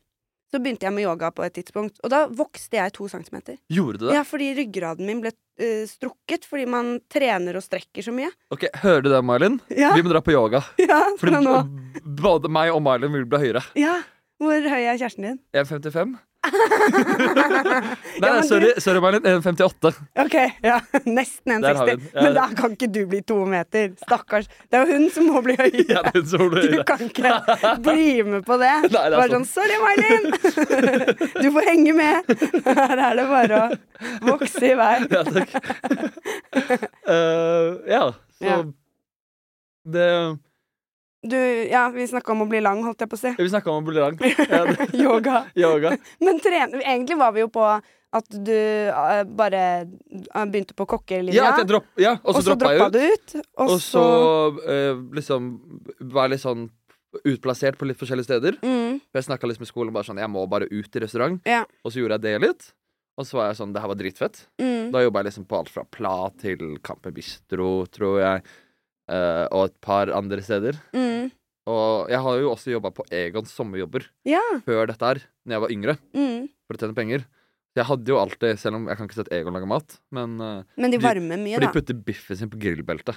A: så begynte jeg med yoga på et tidspunkt, og da vokste jeg to centimeter.
B: Gjorde du det?
A: Ja, fordi ryggraden min ble eh, strukket fordi man trener og strekker så mye.
B: Ok, Hører du det, Mylin?
A: Ja,
B: Vi må dra på
A: [laughs]
B: yoga.
A: ja fra
B: Fordi
A: nå.
B: b- både meg og Mylin vil bli høyere.
A: Ja. Hvor høy er kjæresten din?
B: 1,55?
A: [laughs]
B: Nei,
A: Ja, men du-
B: sorry, sorry Mylin. 1,58.
A: Ok, ja, [laughs] nesten
B: Der har
A: 1,60.
B: vi den. Ja.
A: Men da kan ikke du bli to meter. Stakkars. Det er jo hun som må bli
B: [laughs]
A: høyere.
B: Ja, det er så hun blir
A: Du
B: høyere.
A: kan ikke bli med på det.
B: Nei, det er
A: bare
B: sant.
A: sånn 'Sorry, Marlin'. [laughs] Du får henge med. [laughs] Her er det bare å vokse i vei.
B: [laughs] Ja, takk. Eh, ja, så
A: Ja.
B: Det
A: Du, ja, vi snakka om å bli lang, holdt jeg på å si. [laughs]
B: Vi snakka om å bli lang. Ja, det-
A: Yoga.
B: Yoga.
A: Men tren- egentlig var vi jo på at du eh, bare eh, begynte på kokkelinja.
B: Ja, at jeg dropp, ja og
A: og
B: så
A: så
B: droppa jeg ut.
A: du ut. Og,
B: Og
A: så
B: så eh, liksom var jeg litt sånn utplassert på litt forskjellige steder.
A: mm,
B: For Jeg snakka litt med skolen bare sånn Jeg må bare ut i restaurant.
A: Ja.
B: Og så gjorde jeg det litt. Og så var jeg sånn Det her var dritfett.
A: mm,
B: Da jobba jeg liksom på alt fra Pla til Camper Bistro, tror jeg. eh, og et par andre steder.
A: mm.
B: Og jeg har jo også jobba på Egons sommerjobber
A: Ja.
B: før dette her, når jeg var yngre,
A: Mm.
B: for å tjene penger. Så jeg hadde jo alltid, selv om jeg kan ikke se at Egon lager mat, men eh,
A: Men de
B: De-
A: varmer mye,
B: For de
A: da.
B: putter biffen sin på grillbeltet.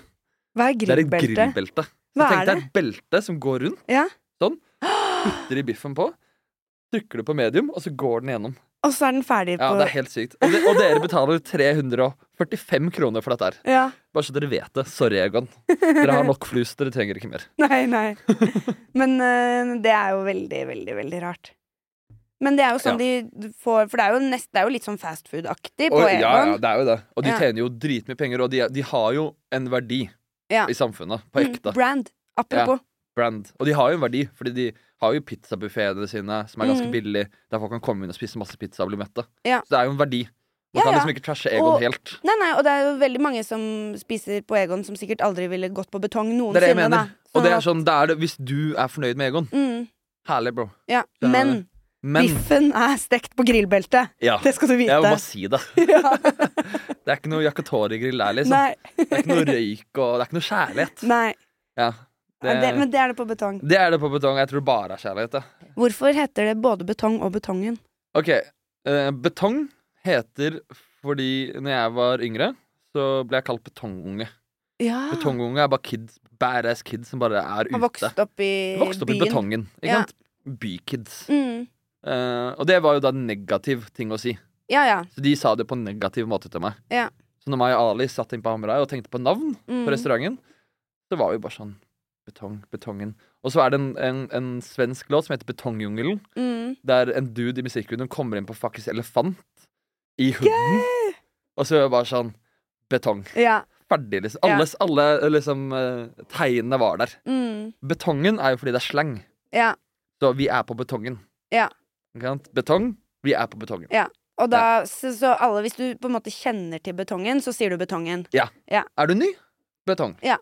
A: Hva er
B: Det er et
A: grillbelte?
B: grillbelte. Så
A: Hva
B: tenk
A: er
B: deg et belte som går rundt.
A: Ja. [gasps]
B: Sånn. Putter de biffen på, trykker du på medium, og så går den gjennom.
A: Og så er den ferdig på
B: Ja, Det er helt sykt. Og, de, og dere betaler 345 kroner for dette her.
A: Ja. [laughs]
B: Bare så dere vet det. Sorry, Egon. Dere har nok flus, dere trenger ikke mer.
A: Nei, nei. Men eh, det er jo veldig, veldig, veldig rart. Men det er jo sånn de får For det er jo, nest, det er jo litt sånn fast food-aktig på
B: Og, ja, ja,
A: Egon.
B: det er jo det. Og de
A: Ja.
B: tjener jo dritmye penger, og de, de har jo en verdi
A: Ja.
B: i samfunnet. På
A: Mm,
B: ekte.
A: Brand. Apropos.
B: brand. Og de har jo en verdi, Fordi de har jo pizzabuffeene sine, som er ganske
A: Mhm.
B: billige, der folk kan komme inn og spise masse pizza og bli mette.
A: Ja.
B: Så det er jo en verdi. Man
A: Ja,
B: kan
A: ja.
B: liksom ikke trashe Egon
A: Og-
B: helt.
A: Nei, nei, og det er jo veldig mange som spiser på Egon som sikkert aldri ville gått på betong
B: Det er det jeg
A: noensinne.
B: mener.
A: da.
B: Og det er
A: at-
B: sånn, det er det, hvis du er fornøyd med Egon,
A: mm,
B: herlig, bro.
A: Ja,
B: Det er
A: men
B: Men
A: biffen er stekt på grillbeltet.
B: ja,
A: Det skal du vite.
B: jeg må bare si det.
A: [laughs] Ja.
B: Det er ikke noe jakatore-grill der, liksom.
A: Nei,
B: Det er ikke noe røyk, og det er ikke noe kjærlighet.
A: nei.
B: Ja,
A: Ja,
B: det,
A: Det, men det er det på betong.
B: det er det på betong. Jeg tror bare er kjærlighet, det.
A: Hvorfor heter det både betong og betongen?
B: Ok, eh, betong heter fordi når jeg var yngre, så ble jeg kalt betongunge.
A: Ah. Ja.
B: Betongunge er bare kids, badass kids som bare er
A: Har
B: ute.
A: vokst opp i
B: Vokst opp
A: byen.
B: i betongen, ikke
A: Ja.
B: sant? Bykids.
A: Mm.
B: Eh, og det var jo da en negativ ting å si.
A: Ja, ja.
B: Så de sa det på en negativ måte til meg.
A: Ja.
B: Så når meg og Ali satt inn på Hamarøy og tenkte på navn
A: Mm.
B: på restauranten, så var vi bare sånn Betong, betongen. Og så er det en, en, en svensk låt som heter Betongjungelen.
A: Mm.
B: der en dude i musikkvideoen kommer inn på fuckings elefant i huden. Og så er det bare sånn Betong.
A: ja.
B: Ferdig, liksom.
A: Ja.
B: Alle, alle liksom, eh, tegnene var der.
A: Mm.
B: Betongen er jo fordi det er slang.
A: ja.
B: Så vi er på betongen.
A: Ja.
B: Ikke sant? Betong, vi er på betongen.
A: Og da, så, så alle, hvis du på en måte kjenner til betongen, så sier du betongen.
B: Er du ny? Betong.
A: Ja.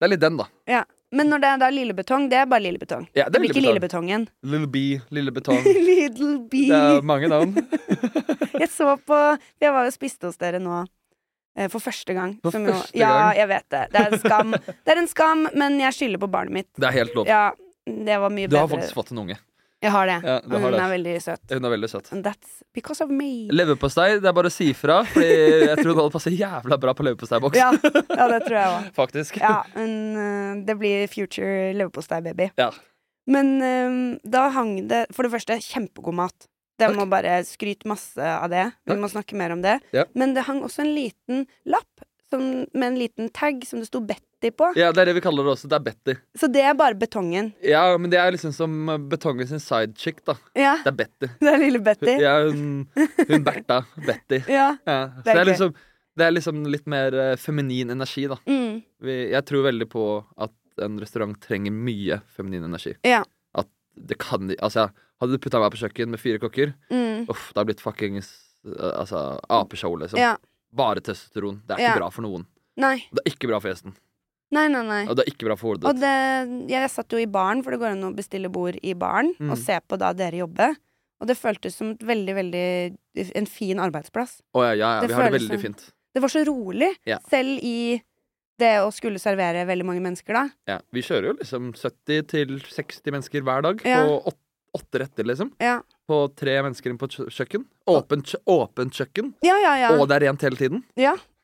B: Det er litt den, da.
A: Men når det er da lillebetong, det er bare lillebetong.
B: Ja,
A: Det
B: det
A: blir
B: er
A: ikke
B: Lille Betong.
A: lillebetongen.
B: Little B, Lille Betong.
A: [laughs] Little bee. [laughs]
B: Det er mange navn.
A: Jeg så på Jeg var jo og spiste hos dere nå eh, for første gang.
B: For
A: jo-
B: første
A: Ja,
B: gang?
A: jeg vet det. Det er en skam, det er en skam men jeg skylder på barnet mitt.
B: Det er helt lov.
A: Ja, det var mye
B: Du har
A: bedre.
B: faktisk fått en unge.
A: Jeg har det.
B: Ja, du
A: og
B: har
A: hun
B: det.
A: er veldig søt.
B: Hun er veldig søt.
A: And that's because of me.
B: Leverpostei, det er bare å si ifra, Fordi jeg tror hun hadde passet jævla bra på leverposteiboks.
A: Ja, ja, det tror jeg
B: [laughs]
A: òg.
B: Faktisk.
A: Ja, men eh, det blir future leverpostei-baby.
B: Ja.
A: Men eh, da hang det for det første kjempegod mat. Det
B: Takk.
A: må bare skryte masse av det. Vi
B: Takk.
A: må snakke mer om det.
B: Ja.
A: Men det hang også en liten lapp som, med en liten tag som det sto Betty på.
B: Ja, det er det vi kaller det også. Det er Betty.
A: Så det er bare betongen.
B: Ja, men det er liksom som eh, betongen sin sidechick, da.
A: Ja,
B: Det er Betty.
A: [laughs] det er lille Betty.
B: Hun, ja, hun, hun Bertha. Betty.
A: Ja.
B: Ja. Så
A: Det
B: det
A: er
B: er liksom, det er liksom litt mer eh, feminin energi, da.
A: Mm.
B: Vi, jeg tror veldig på at en restaurant trenger mye feminin energi.
A: Ja.
B: At det kan de Altså, hadde du putta meg på kjøkken med fire kokker,
A: Mm.
B: uff, det hadde blitt fuckings eh, altså, apeshow, liksom.
A: Ja.
B: Bare testosteron. Det er
A: Ja.
B: ikke bra for noen.
A: Nei.
B: Det er ikke bra for gjesten.
A: Nei, nei, nei.
B: Og det er ikke bra for hodet
A: Og
B: ditt.
A: det, jeg satt jo i baren, for det går an å bestille bord i baren,
B: Mm.
A: og se på da dere jobber. Og det føltes som et veldig, veldig en fin arbeidsplass.
B: Å ja, ja, ja,
A: det
B: vi har det
A: føles
B: veldig
A: sånn.
B: fint.
A: Det var så rolig,
B: Ja.
A: selv i det å skulle servere veldig mange mennesker da.
B: Ja, Vi kjører jo liksom 70-60 mennesker hver dag
A: Ja.
B: på åt- åtte retter, liksom.
A: Ja.
B: På tre mennesker inn på et kjø- kjøkken. Åpent, kjø- åpent kjøkken,
A: Ja, ja, ja.
B: og det er rent hele tiden.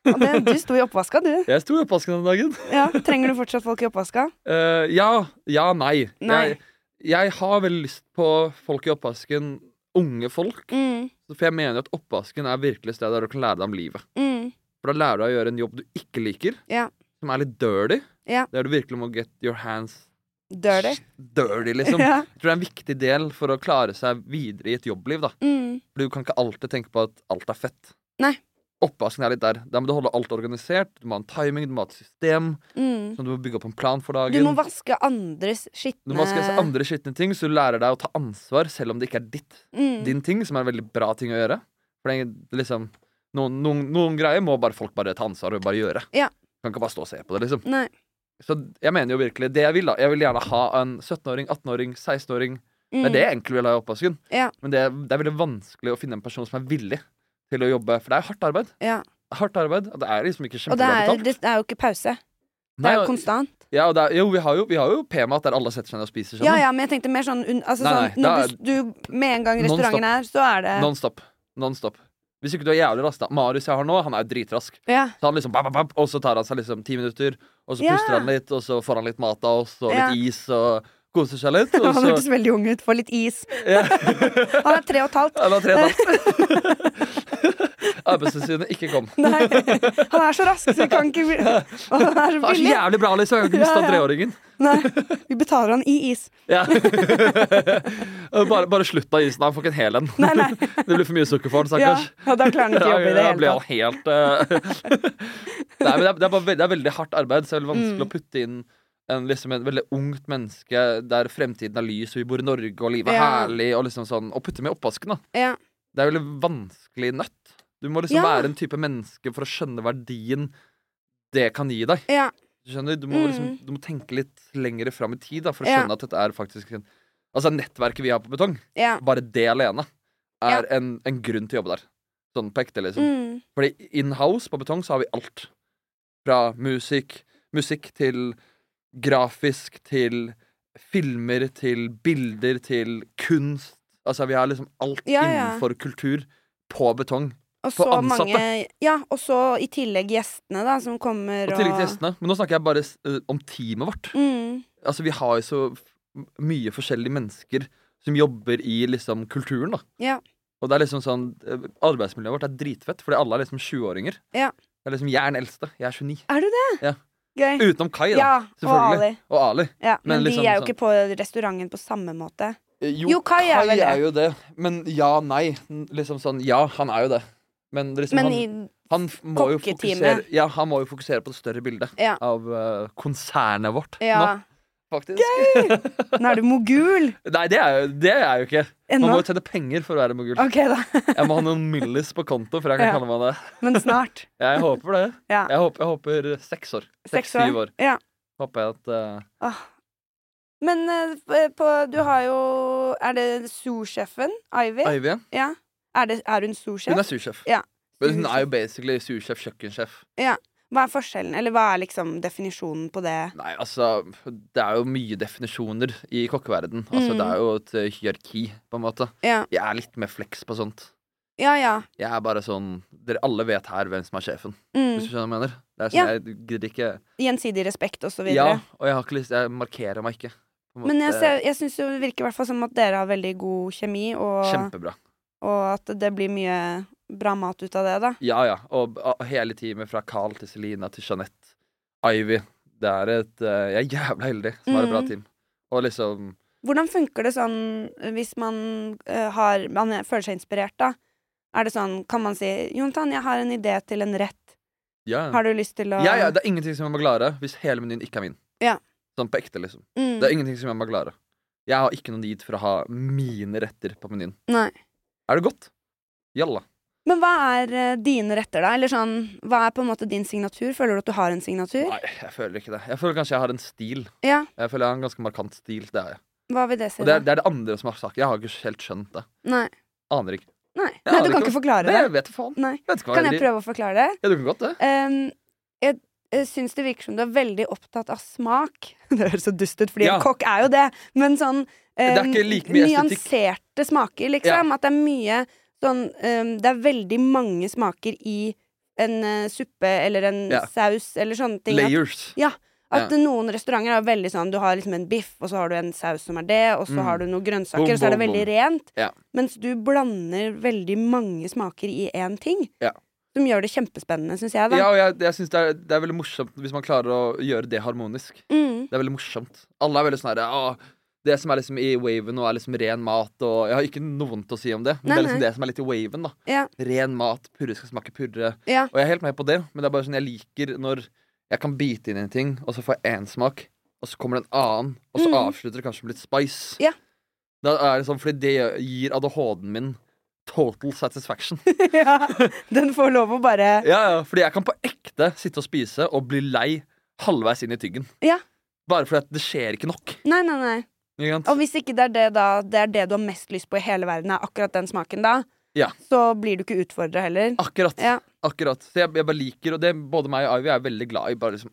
A: Og det, du sto i oppvaska, du.
B: Jeg sto i oppvasken den dagen.
A: Ja. Trenger du fortsatt folk i oppvaska?
B: [laughs] Eh, ja, ja, nei.
A: Nei.
B: Jeg, jeg har vel lyst på folk i oppvasken, unge folk,
A: Mm,
B: for jeg mener at oppvasken er virkelig stedet der du kan lære deg om livet.
A: mm,
B: For da lærer du deg å gjøre en jobb du ikke liker,
A: Ja.
B: som er litt dirty.
A: Ja.
B: Der du virkelig må get your hands
A: dirty.
B: dirty, liksom.
A: Ja.
B: Jeg tror det er en viktig del for å klare seg videre i et jobbliv. da
A: Mm,
B: For Du kan ikke alltid tenke på at alt er fett.
A: Nei.
B: Oppvasken er litt der. Da må du holde alt organisert. Du må ha en timing, du må ha et system.
A: mm.
B: Sånn at du må bygge opp en plan for
A: Du
B: dagen.
A: må vaske andres skitne
B: Du må vaske andre skitne ting, så du lærer deg å ta ansvar selv om det ikke er ditt.
A: Mm,
B: Din ting, som er en veldig bra ting å gjøre. For det er liksom Noen, noen, noen greier må bare folk bare ta ansvar og bare gjøre.
A: Ja.
B: Kan ikke bare stå og se på det, liksom.
A: Nei.
B: Så jeg mener jo virkelig det jeg vil, da. Jeg vil gjerne ha en 17-åring, 18-åring, 16-åring
A: Mm,
B: Det er det jeg egentlig vil ha i oppvasken.
A: Ja.
B: Men det, det er veldig vanskelig å finne en person som er villig til å jobbe. For det er hardt arbeid.
A: Mm. Ja.
B: Det er Hardt arbeid, og Det er liksom ikke
A: Og det
B: kjempebra
A: er,
B: betalt.
A: det er jo ikke pause. Det
B: Nei,
A: er jo
B: og-
A: konstant.
B: ja, og det er, jo, vi har jo, vi har jo P-mat der alle setter seg ned og spiser.
A: Ja,
B: skjønner
A: ja, men jeg tenkte mer sånn, un- altså,
B: Nei, nei,
A: sånn Når du, du Med en gang
B: Non-stop.
A: restauranten er, så er det
B: du. Non stop. Non stop. Hvis ikke du er jævlig rask, da. Marius jeg har nå, han er jo dritrask.
A: Ja.
B: Så han liksom, bap, bap, bap, og så tar han seg liksom ti minutter, og så
A: Ja.
B: puster han litt, og så får han litt mat av oss, og litt
A: Ja.
B: is, og koser seg litt. Og
A: [laughs] Han
B: så,
A: hørtes veldig ung ut. Få litt is.
B: ja.
A: [laughs] Han er tre og et halvt.
B: Han har tre
A: [laughs]
B: dager. [laughs] Arbeidstilsynet ikke kom.
A: Nei. Han er så rask, så vi kan ikke Og han er så
B: Det er så
A: billig.
B: jævlig bra, liksom. Jeg kan
A: Ja,
B: ikke miste
A: ja.
B: han treåringen.
A: Nei. Vi betaler han i is.
B: Ja. [laughs] bare, bare slutt av isen. Han får ikke en hel en.
A: Nei, nei.
B: [laughs] Det blir for mye sukker for han,
A: Ja,
B: stakkars.
A: ja, da klarer han ikke å jobbe i det
B: Da blir
A: hele tatt.
B: han [laughs]
A: Mm.
B: helt eh, Nei, men det er, det, er bare, ve- det er veldig hardt arbeid, så det er veldig vanskelig å putte inn en, liksom en veldig ungt menneske der fremtiden er lys, og vi bor i Norge, og livet er
A: Ja.
B: herlig, og liksom sånn Og putte med i oppvasken, da.
A: Ja.
B: Det er jo veldig vanskelig nøtt. Du må liksom
A: Ja.
B: være en type menneske for å skjønne verdien det kan gi deg.
A: Ja.
B: Du skjønner, du må, liksom, du må tenke litt lengre fram i tid da, for å
A: Mm. Ja.
B: skjønne at dette er faktisk en, Altså nettverket vi har på betong,
A: Ja.
B: bare det alene er en, en grunn til å jobbe der. Sånn på ekte, liksom.
A: Mm.
B: Fordi in-house på betong så har vi alt. Fra musikk, musikk til grafisk, til filmer, til bilder, til kunst. Altså vi har liksom alt
A: Ja, ja.
B: innenfor kultur på betong.
A: Og
B: For
A: så
B: ansatte.
A: mange Ja, og så i tillegg gjestene, da, som kommer
B: Og
A: og
B: tillegg til gjestene. Men nå snakker jeg bare eh, om teamet vårt.
A: Mm.
B: Altså vi har jo så f- mye forskjellige mennesker som jobber i liksom kulturen, da.
A: Ja.
B: Og det er liksom sånn eh, Arbeidsmiljøet vårt er dritfett, fordi alle er liksom 20-åringer.
A: Ja.
B: Det er liksom, Jeg er den eldste. Jeg er 29.
A: Gøy.
B: Utenom Kai, da.
A: Ja, og Ali.
B: selvfølgelig. Og Ali.
A: Ja, men,
B: Men liksom
A: de er jo
B: sånn-
A: ikke på restauranten på samme måte.
B: Eh,
A: Jo, Kai er vel det.
B: jo det. Men ja, nei. N- Liksom sånn, ja, han er jo det. Men liksom,
A: Men i
B: han, han f- må jo
A: kokketeamet.
B: fokusere Ja, han må jo fokusere på det større bildet
A: Ja.
B: av eh, konsernet vårt nå,
A: Ja.
B: faktisk.
A: Nå er du
B: [laughs]
A: mogul!
B: Nei, det er, jo, det er jeg jo ikke. Man
A: Ennå.
B: må jo tjene penger for å være mogul.
A: OK, da.
B: Jeg må ha noen millis på konto før jeg kan
A: Ja.
B: kalle meg det.
A: Men
B: [laughs]
A: snart.
B: Jeg håper det.
A: Ja.
B: Jeg håper, jeg håper seks år.
A: Seks
B: Seks-syv år.
A: Ja.
B: Håper jeg at eh,
A: Åh. Men eh, f- på, du har jo Er det zoosjefen? Ivy?
B: Ivy
A: Ja. Er, det, er hun
B: Hun
A: zoosjef?
B: er sursjef.
A: Ja.
B: Men hun er jo basically sursjef, kjøkkensjef.
A: Hva er forskjellen? Eller hva er liksom definisjonen på det?
B: Nei, altså Det er jo mye definisjoner i kokkeverden Altså,
A: Mm.
B: Det er jo et eh, hierarki, på en måte.
A: Ja,
B: Jeg er litt mer fleks på sånt.
A: ja. ja.
B: Jeg er bare sånn Dere alle vet her hvem som er sjefen, hvis
A: Mm.
B: du skjønner hva jeg mener. Det er sånn,
A: Ja.
B: Jeg gidder ikke
A: Gjensidig respekt og så
B: Ja, Eh.
A: videre.
B: og jeg har ikke lyst Jeg markerer meg ikke. på en
A: Men jeg,
B: måte.
A: ser, jeg syns jo det virker i hvert fall som at dere har veldig god kjemi, og,
B: Kjempebra.
A: og at det blir mye bra mat ut av det, da.
B: Ja, ja. Og b- a- hele teamet fra Carl til Selina til Jeanette, Ivy Det er et eh, Jeg er jævla heldig som har et bra
A: Mm.
B: team. Og liksom
A: Hvordan funker det sånn hvis man eh, har Man føler seg inspirert, da. Er det sånn, kan man si 'Jonathan, jeg har en idé til en rett.
B: Ja, ja.
A: Har du lyst til å
B: ja, ja det er ingenting som jeg må klare hvis hele menyen ikke er min.
A: Ja.
B: Sånn på ekte, liksom.
A: mm.
B: Det er ingenting som jeg må klare. Jeg har ikke noen need for å ha mine retter på menyen.
A: Nei.
B: Er det godt? Jalla.
A: Men hva er eh, dine retter, da? Eller sånn, hva er på en måte din signatur? Føler du at du har en signatur?
B: Nei, jeg føler ikke det. Jeg føler kanskje jeg har en stil.
A: Ja,
B: Jeg føler jeg har en ganske markant stil. Det er jeg.
A: hva vil det si?
B: Og det er,
A: da?
B: det er det andre som har sagt. Jeg har ikke helt skjønt det.
A: Nei.
B: Aner ikke.
A: Nei.
B: Ja,
A: Nei, du
B: det
A: kan
B: kan-
A: ikke forklare
B: Nei,
A: det.
B: jeg vet faen.
A: Nei.
B: Jeg vet ikke hva
A: Kan
B: jeg
A: jeg
B: driver-
A: prøve å forklare det?
B: Ja, du kan godt det.
A: Ehm, jeg jeg syns det virker som du er veldig opptatt av smak. [laughs] Det høres så dust ut, fordi
B: Ja.
A: en kokk er jo det, men sånn
B: er
A: ehm,
B: ikke like mye estetikk.
A: Nyanserte smaker, liksom. At det er mye sånn ehm, Det er veldig mange smaker i en eh, suppe eller en
B: Ja.
A: saus eller sånne ting. At,
B: Layers.
A: at noen restauranter er veldig sånn Du har liksom en biff, og så har du en saus som er det, og så
B: Mm.
A: har du noen grønnsaker,
B: Bom,
A: og så er det
B: bom,
A: veldig
B: bom.
A: rent.
B: Ja.
A: Mens du blander veldig mange smaker i én ting.
B: Ja.
A: Som gjør det kjempespennende, syns jeg, da.
B: Ja, og jeg, jeg synes det, er, det er veldig morsomt hvis man klarer å gjøre det harmonisk.
A: Mm.
B: Det er veldig morsomt. Alle er veldig sånn herre «Åh, Det som er liksom i waven nå, er liksom ren mat, og jeg har ikke noe vondt å si om det. Men
A: Nei,
B: det er liksom
A: nei.
B: det som er litt i waven, da.
A: Ja.
B: Ren mat, purre skal smake purre.
A: Ja.
B: Og jeg er helt med på det, men det er bare sånn jeg liker når jeg kan bite inn i en ting, og så får jeg én smak, og så kommer det en annen, og så
A: Mm.
B: avslutter det kanskje med litt spice.
A: Ja.
B: Da er det sånn, fordi det gir ADHD-en min total satisfaction.
A: [laughs] ja, den får lov å bare
B: Ja, ja, fordi jeg kan på ekte sitte og spise og bli lei halvveis inn i tyggen.
A: Ja.
B: Bare fordi at det skjer ikke nok.
A: Nei, nei, nei.
B: Ikke sant?
A: Og hvis ikke det er det, da, det er det du har mest lyst på i hele verden, er akkurat den smaken, da,
B: Ja.
A: så blir du ikke utfordra heller.
B: Akkurat.
A: Ja.
B: akkurat. Så jeg, jeg bare liker, og det både meg og Ivy er veldig glad i, bare liksom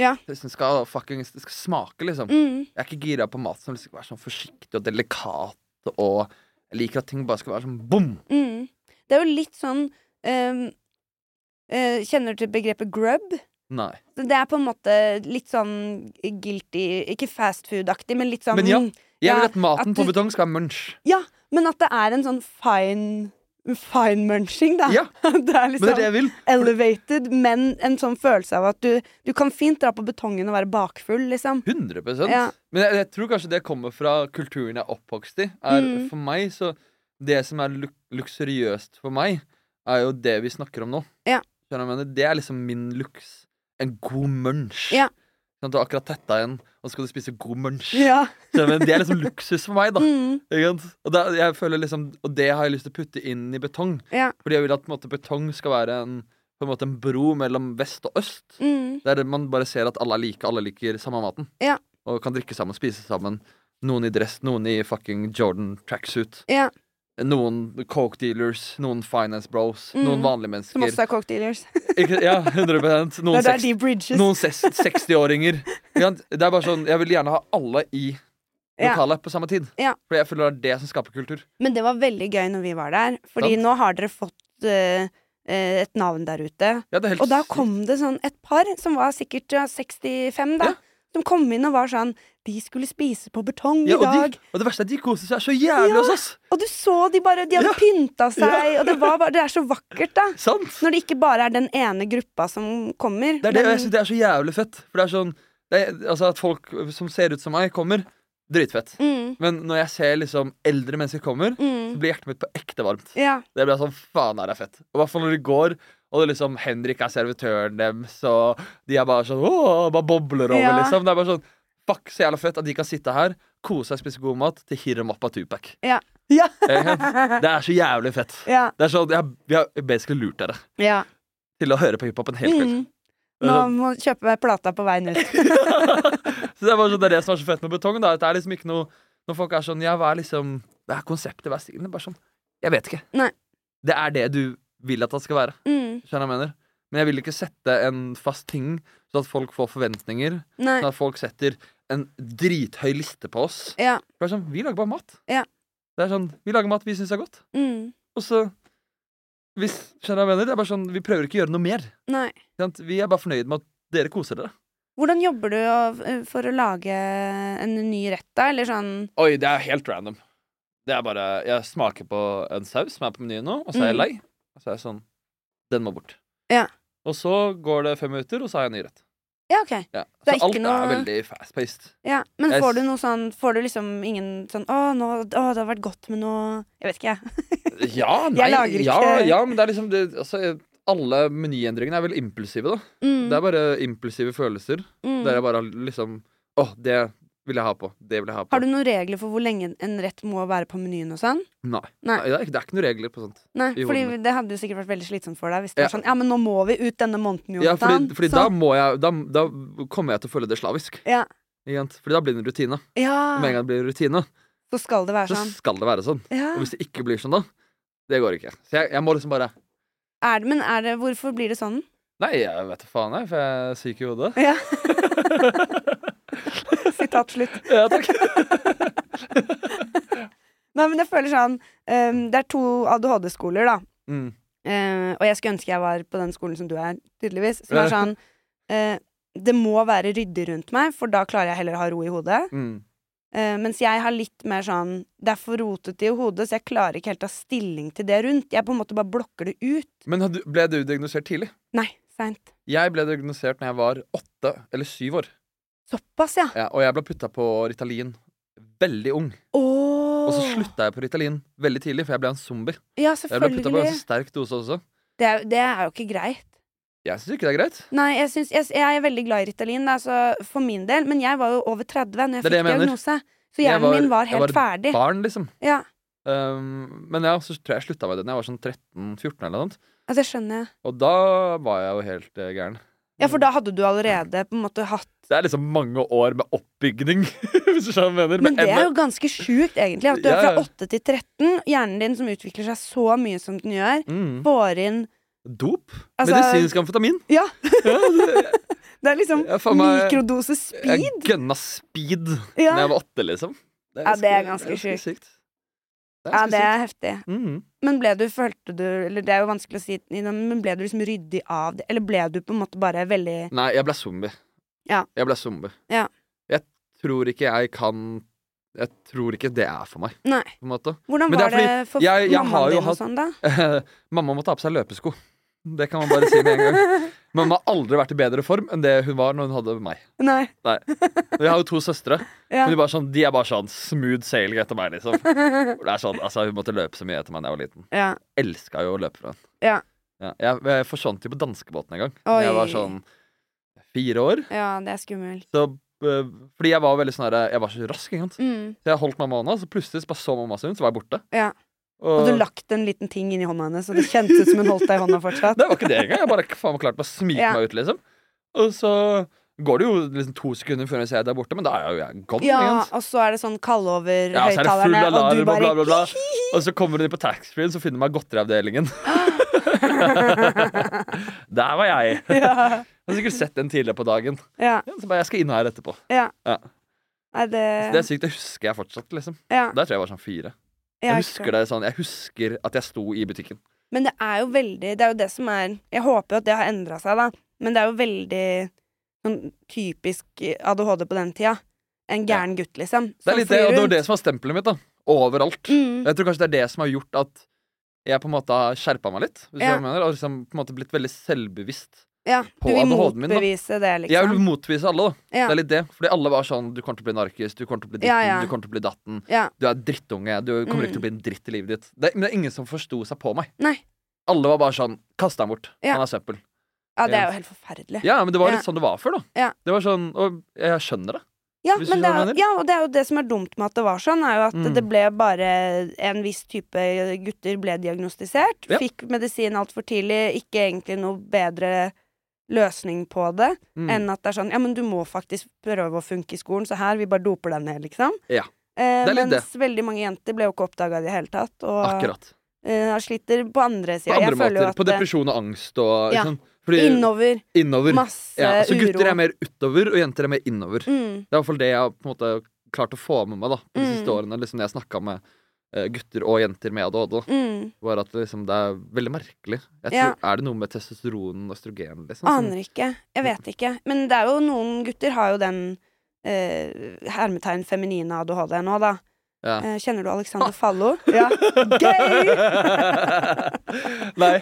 A: Ja.
B: Det som skal, fucking, det skal smake, liksom.
A: Mm.
B: Jeg er ikke gira på mat som liksom skal være sånn forsiktig og delikat og Jeg liker at ting bare skal være sånn bom!
A: Mm. Det er jo litt sånn ehm, eh, Kjenner du til begrepet grub?
B: Nei.
A: Det er på en måte litt sånn guilty Ikke fast food-aktig, men litt sånn
B: Men ja. Jeg
A: Ja,
B: vil at maten
A: at du-
B: på betong skal være munch.
A: Men at det er en sånn fine Fine munching, da.
B: Ja.
A: Ah, [laughs] det er
B: Men det
A: liksom
B: er det jeg vil.
A: elevated, men en sånn følelse av at du, du kan fint dra på betongen og være bakfull, liksom.
B: 100
A: Ja.
B: Men jeg, jeg tror kanskje det kommer fra kulturen jeg er oppvokst i. Er,
A: Mm.
B: For meg så Det som er luk luksuriøst for meg, er jo det vi snakker om nå.
A: Ja.
B: Skjønner du hva jeg mener? Det er liksom min luks. En god munch.
A: Ja.
B: sant, Du har akkurat tetta igjen, og så skal du spise god munch.
A: Ja.
B: Så, men det er liksom luksus for meg, da.
A: Mm.
B: Ikke sant? Og, da, jeg føler liksom, og det har jeg lyst til å putte inn i betong.
A: Ja.
B: Fordi jeg vil at på en måte, betong skal være en, på en, måte, en bro mellom vest og øst.
A: Mm.
B: Der man bare ser at alle er like, alle liker samme maten.
A: Ja.
B: Og kan drikke sammen, spise sammen. Noen i dress, noen i fucking Jordan tracksuit.
A: ja.
B: Noen coke dealers, noen finance bros,
A: Mm.
B: noen vanlige
A: Som også
B: mennesker.
A: er coke dealers.
B: [laughs] Ikke, ja, 100
A: Det
B: Noen,
A: er der
B: seks-
A: de bridges.
B: noen ses- 60-åringer. Ikke sant? Det er bare sånn, Jeg vil gjerne ha alle i
A: Ja.
B: lokalet på samme tid.
A: Ja.
B: Fordi jeg føler det er det som skaper kultur.
A: Men det var veldig gøy når vi var der, fordi
B: Sant.
A: nå har dere fått eh, eh, et navn der ute.
B: Ja, det er helt
A: Og da
B: sykt.
A: kom det sånn et par som var sikkert ja, 65, da.
B: Ja.
A: Som kom inn og var sånn De skulle spise på betong
B: ja,
A: i dag.
B: og, de, og det verste er at de koser seg så jævlig
A: Ja.
B: hos oss!
A: Og du så de bare De hadde
B: Ja.
A: pynta seg, og det var bare Det er så vakkert, da.
B: Sant?
A: Når det ikke bare er den ene gruppa som kommer.
B: Det er det, og
A: men-
B: jeg synes det er så jævlig fett. For det er sånn det er, Altså At folk som ser ut som meg, kommer. Dritfett.
A: mm,
B: Men når jeg ser liksom eldre mennesker kommer, så
A: mm,
B: blir hjertet mitt på ekte varmt.
A: ja.
B: Det blir sånn, faen er det fett Og i hvert fall når de går, og det liksom Henrik er servitøren deres, og de er bare sånn Åh, bare bobler over,
A: Ja.
B: liksom. Det er bare sånn Fuck, så jævla fett at de kan sitte her, kose seg, spise god mat til Hiram Appa Tupac. [laughs]
A: Ja. [laughs]
B: Ikke sant? Det er så jævlig fett.
A: Ja.
B: Det er sånn, jeg, Vi har basically lurt dere
A: ja.
B: til å høre på hiphop en hel kveld.
A: Mm. Nå må du kjøpe plata på veien ut.
B: Så det er bare sånn, det er det som er så fett med betong. da at Det er liksom ikke noe Når folk er sånn Ja, hva er liksom Hva er konseptet? Hva er stilen? Det er bare sånn Jeg vet ikke.
A: Nei.
B: Det er det du vil at det skal være.
A: Mm,
B: Skjønner du hva jeg mener? Men jeg vil ikke sette en fast ting, sånn at folk får forventninger.
A: nei.
B: Sånn at folk setter en drithøy liste på oss.
A: Ja.
B: Det er sånn, Vi lager bare mat.
A: Ja.
B: Det er sånn, Vi lager mat vi syns er godt.
A: Mm,
B: Og så hvis, Skjønner du hva jeg mener? Det er bare sånn, Vi prøver ikke å gjøre noe mer.
A: nei.
B: Ikke sant? Vi er bare fornøyd med at dere koser dere.
A: Hvordan jobber du å- for å lage en ny rett, da? Eller sånn
B: Oi, det er helt random. Det er bare Jeg smaker på en saus som er på menyen nå, og så er jeg
A: Mm.
B: lei. Og så er jeg sånn Den må bort.
A: Ja.
B: Og så går det fem minutter, og så har jeg en ny rett.
A: Ja, OK.
B: Ja.
A: Det
B: Så
A: er ikke
B: alt
A: noe-
B: er veldig fast-paced.
A: Ja. Men
B: Jeg
A: får du
B: s-
A: noe sånn Får du liksom ingen sånn Å, nå, å det hadde vært godt med noe Jeg vet ikke, [laughs] jeg.
B: Ja, nei,
A: lager ikke-
B: ja, ja, men det er liksom det, altså, Alle menyendringene er vel impulsive, da.
A: Mm,
B: Det er bare impulsive følelser.
A: mm.
B: Der jeg bare liksom Å, det vil jeg ha på. Det vil jeg ha på.
A: Har du noen regler for hvor lenge en rett må være på menyen og sånn?
B: Nei.
A: Nei.
B: Det, er ikke, det er ikke noen regler på sånt.
A: Nei,
B: I hodet
A: fordi
B: mitt.
A: det hadde jo sikkert vært veldig slitsomt for deg hvis det var
B: Ja.
A: sånn Ja, men nå må vi ut denne måneden,
B: Ja,
A: Jonathan.
B: fordi, fordi da
A: sånn.
B: må jeg da, da kommer jeg til å føle det slavisk.
A: Ja.
B: Ikke sant? Fordi da blir det en rutine. Og Med
A: Ja,
B: en gang det blir rutine,
A: så skal Ah. det være
B: så
A: sånn.
B: skal det være sånn.
A: Ja.
B: Og hvis det ikke blir sånn, da Det går ikke. Så jeg, jeg må liksom bare
A: Er det, men er det Hvorfor blir det sånn? [laughs]
B: Nei, jeg vet da faen, jeg, for jeg er syk i hodet.
A: Ja. Sitat slutt.
B: [laughs] Ja, takk.
A: Nei, men jeg føler sånn ehm, Det er to ADHD-skoler, da.
B: Mm.
A: Eh, og jeg skulle ønske jeg var på den skolen som du er, tydeligvis. Som er
B: Ja.
A: sånn eh, Det må være ryddig rundt meg, for da klarer jeg heller å ha ro i hodet.
B: Mm.
A: Eh, mens jeg har litt mer sånn Det er for rotete i hodet, så jeg klarer ikke helt å ta stilling til det rundt. Jeg på en måte bare blokker det ut.
B: Men hadde- ble du diagnosert tidlig?
A: Nei, seint.
B: Jeg ble diagnosert når jeg var åtte eller syv år.
A: Såpass, ja.
B: Ja, og jeg ble putta på Ritalin veldig ung.
A: Åh.
B: Og så slutta jeg på Ritalin veldig tidlig, for jeg ble en zombie.
A: Ja,
B: Jeg ble putta på altså. en
A: selvfølgelig.
B: ganske sterk dose også.
A: Det er, det er jo ikke greit.
B: Jeg syns ikke det er greit.
A: Nei, jeg, syns, jeg, jeg er veldig glad i Ritalin, da, så for min del. Men jeg var jo over 30 når jeg
B: Det er
A: fikk
B: det jeg mener.
A: diagnose. Så
B: Jeg
A: hjernen
B: var-
A: min var
B: jeg
A: helt
B: var
A: ferdig.
B: Barn, liksom.
A: Ja,
B: Um, men ja, så tror jeg jeg slutta med det da jeg var sånn 13-14 eller noe sånt.
A: altså, det skjønner jeg.
B: Og da var jeg jo helt eh, gæren.
A: Ja, for da hadde du allerede på en måte hatt
B: Det er liksom mange år med oppbygning, [laughs] hvis du skjønner hva jeg mener. E.
A: Men det er
B: enda-
A: jo ganske sjukt, egentlig. At du
B: Ja,
A: er
B: ja.
A: fra 8 til 13. Hjernen din, som utvikler seg så mye som den gjør,
B: mm.
A: får inn
B: Dop?
A: altså,
B: Medisinsk amfetamin? [laughs]
A: Ja.
B: det-
A: Det er liksom
B: Ja, faen meg-
A: mikrodose
B: jeg
A: speed.
B: gønna speed
A: Ja.
B: Når jeg var åtte, liksom. Det
A: Ja, det er ganske
B: ganske sykt.
A: ja,
B: Det er ganske
A: det
B: sykt.
A: er heftig.
B: Mhm.
A: Men ble du, følte du Eller det er jo vanskelig å si, men ble du liksom ryddig av det? Eller ble du på en måte bare veldig
B: Nei, jeg ble zombie.
A: Ja.
B: Jeg ble zombie.
A: Ja.
B: Jeg tror ikke jeg kan Jeg tror ikke det er for meg,
A: Nei.
B: på en måte. [laughs]
A: Hvordan
B: Men det
A: var
B: er
A: det, for
B: jeg- jeg har
A: mammaen
B: jo
A: din og
B: hatt-
A: sånn, da?
B: Mamma må ta på seg løpesko. Det kan man bare si med
A: [laughs]
B: en gang. Mamma har aldri vært i bedre form enn det hun var når hun hadde meg.
A: Nei.
B: Og Jeg har jo to søstre.
A: Ja.
B: Men de, bare sånn, de er bare sånn smooth sailing etter meg, liksom. Det er sånn, altså Hun måtte løpe så mye etter meg da jeg var liten.
A: ja.
B: Elska jo å løpe fra henne.
A: Ja.
B: jeg, jeg forsvant jo på danskebåten en gang.
A: Oi.
B: Jeg var sånn fire år.
A: Ja, det er skummelt.
B: Så, eh, fordi jeg var veldig sånn her Jeg var så rask, ikke sant.
A: Mm.
B: Så jeg holdt mamma i hånda, så plutselig bare så mamma seg rundt, så var jeg borte.
A: Ja.
B: Og,
A: Og du lagt en liten ting inn i hånda hennes, og det kjentes ut som hun holdt deg i hånda fortsatt.
B: [laughs] Det var ikke det engang. Jeg bare faen meg klarte meg å smike
A: Ja.
B: meg ut, liksom. Og så går det jo liksom to sekunder før jeg ser at jeg er borte, men da er jo jeg gone.
A: Ja,
B: ikke sant?
A: og så er det sånn kalle over
B: Ja, så er det full
A: høyttalerne, og du
B: alarm og
A: bare
B: bla, bla, bla. Og så kommer hun inn på taxfree-en, så finner hun meg godteriavdelingen. Der var jeg. Jeg
A: [laughs] ja.
B: har sikkert sett den tidligere på dagen.
A: ja,
B: Ja, Så bare, jeg skal inn her etterpå. Ja.
A: Nei, det
B: Så det er sykt. Det husker jeg fortsatt, liksom.
A: ja,
B: Der tror jeg jeg var sånn fire.
A: ja,
B: Jeg husker det sånn Jeg husker at jeg sto i butikken.
A: Men det er jo veldig Det er jo det som er Jeg håper jo at det har endra seg, da. Men det er jo veldig sånn typisk ADHD på den tida. En gæren gutt, liksom.
B: Det
A: som
B: er litt det,
A: flyr
B: og det var
A: rundt.
B: det som var stempelet mitt, da. Overalt.
A: Mm,
B: Jeg tror kanskje det er det som har gjort at jeg på en måte har skjerpa meg litt. Hvis
A: Ja.
B: jeg mener, og liksom på en måte blitt veldig selvbevisst.
A: ja,
B: på
A: du vil
B: ADHD min, da.
A: motbevise det, liksom.
B: Jeg vil motvise alle, da.
A: ja.
B: Det er litt det. Fordi alle var sånn Du kommer til å bli narkis, du kommer til å bli ditten,
A: Ja, ja.
B: du kommer til å bli datten.
A: Ja.
B: Du er drittunge, du kommer ikke til å bli en dritt i livet ditt. Det, men det er ingen som forsto seg på meg.
A: Mm. Nei.
B: Alle var bare sånn Kast han bort.
A: Ja.
B: Han er søppel.
A: ja, det er jo helt forferdelig.
B: Ja, men det var
A: Ja.
B: litt sånn det var før, da.
A: Ja.
B: Det var sånn Og jeg skjønner det.
A: Ja,
B: Hvis du
A: men det
B: skjønner hva
A: er,
B: jeg
A: ja, og det er jo det som er dumt med at det var sånn, er jo at
B: Mm.
A: det ble bare en viss type gutter ble diagnostisert.
B: Ja.
A: Fikk medisin altfor tidlig, ikke egentlig noe bedre løsning på det
B: Mm.
A: enn at det er sånn Ja, men du må faktisk prøve å funke i skolen, så her, vi bare doper deg ned, liksom.
B: Ja.
A: Eh,
B: Det er litt
A: mens veldig mange jenter ble jo ikke oppdaga i det hele tatt, og
B: Akkurat.
A: eh, sliter på andre
B: På
A: sida.
B: andre
A: Jeg føler
B: måter.
A: jo at
B: På depresjon og angst og
A: Ja.
B: ikke sant? Fordi
A: Innover.
B: innover.
A: Masse
B: Ja, så
A: uro.
B: gutter er mer utover, og jenter er mer innover.
A: mm,
B: Det er i hvert fall det jeg har på en måte klart å få med meg da de siste
A: Mm.
B: årene. Liksom, når jeg snakka med eh, gutter og jenter med ADHD, da,
A: mm.
B: var at liksom, det er veldig merkelig. Jeg tror,
A: Ja.
B: Er det noe med testosteron og østrogen? Liksom, som-
A: Aner ikke. Jeg vet ikke. Men det er jo noen gutter har jo den eh, hermetegn feminine ADHD nå, da.
B: Ja. Ah.
A: Eh, kjenner du Alexander Fallo? Ja.
B: [laughs]
A: Gøy!
B: Nei.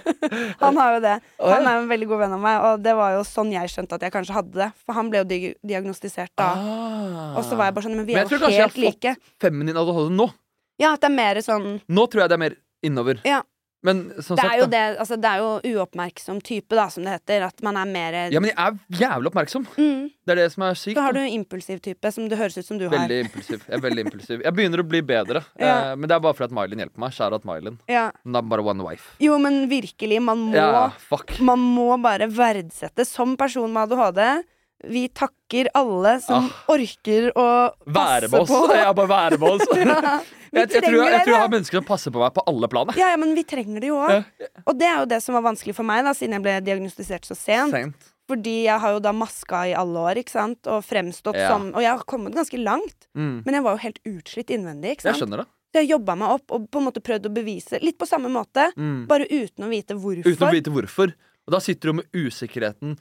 A: Han har jo det.
B: Å,
A: Han
B: ja.
A: er jo en veldig god venn av meg, og det var jo sånn jeg skjønte at jeg kanskje hadde det. For han ble jo di diagnostisert da.
B: Ah.
A: Og så var jeg bare sånn Men vi er
B: Men jeg
A: jo
B: tror kanskje jeg
A: helt
B: har fått-
A: like.
B: Feminin ADHD nå.
A: Ja, at det er mer sånn
B: Nå tror jeg det er mer innover.
A: Ja.
B: Men som
A: Det
B: sagt,
A: er jo
B: da.
A: det Altså, det er jo uoppmerksom type, da, som det heter. At man er mer
B: Ja, men jeg er jævlig oppmerksom.
A: mm.
B: Det er det som er sykt.
A: Så har
B: da.
A: du en impulsiv type, som det høres ut som du har.
B: Veldig impulsiv. Jeg er veldig impulsiv. Jeg begynner å bli bedre,
A: Ja.
B: eh, men det er bare fordi at Mylin hjelper meg. Kjære at Mylin.
A: Ja.
B: Hun er bare one wife.
A: Jo, men virkelig, man må
B: Ja, fuck.
A: Man må bare verdsette som person med ADHD. Vi takker alle som orker å
B: Ah. Være
A: passe
B: med oss. [laughs]
A: på.
B: Jeg er bare være med oss. jeg,
A: Ja, [laughs] vi
B: jeg, tror, jeg,
A: trenger
B: tror jeg har
A: dere.
B: mennesker som passer på meg på alle plan. jeg.
A: Ja, ja, men vi trenger det jo òg. Og det er jo det som var vanskelig for meg, da, siden jeg ble diagnostisert så sent.
B: Sent.
A: Fordi jeg har jo da maska i alle år, ikke sant, og fremstått
B: Ja.
A: som Og jeg har kommet ganske langt,
B: Mm.
A: men jeg var jo helt utslitt innvendig, ikke
B: Jeg
A: sant.
B: skjønner det.
A: Så jeg jobba meg opp og på en måte prøvd å bevise, litt på samme måte,
B: Mm.
A: bare uten å vite hvorfor.
B: Uten å vite hvorfor. Og da sitter du med usikkerheten.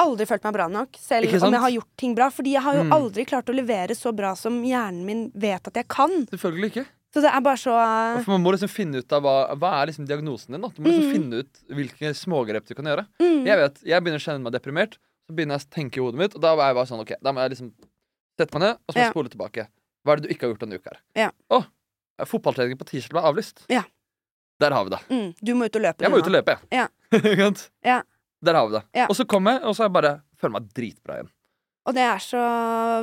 A: aldri følt meg bra nok, selv
B: Ikke
A: om
B: sant?
A: jeg har gjort ting bra. Fordi jeg har jo
B: Mm.
A: aldri klart å levere så bra som hjernen min vet at jeg kan.
B: Selvfølgelig ikke.
A: Så det er bare så
B: Og For man må liksom finne ut av hva, hva er liksom diagnosen din. Da. Du må
A: Mm.
B: liksom finne ut hvilke smågrep du kan gjøre.
A: mm,
B: Jeg vet, jeg begynner å kjenne meg deprimert, så begynner jeg å tenke i hodet mitt, og da var jeg bare sånn, ok, da må jeg liksom sette meg ned, og så må jeg
A: Ja.
B: spole tilbake. Hva er det du ikke har gjort denne uka her?
A: Ja.
B: Å, fotballtreningen på tirsdag ble avlyst.
A: Ja.
B: Der har vi det.
A: mm, Du må ut og løpe.
B: Jeg må ut og løpe,
A: Ja.
B: [laughs] Ikke sant?
A: Ja.
B: Der har vi det.
A: Ja.
B: Og så kom jeg, og så har jeg bare føler meg dritbra igjen.
A: Og det er så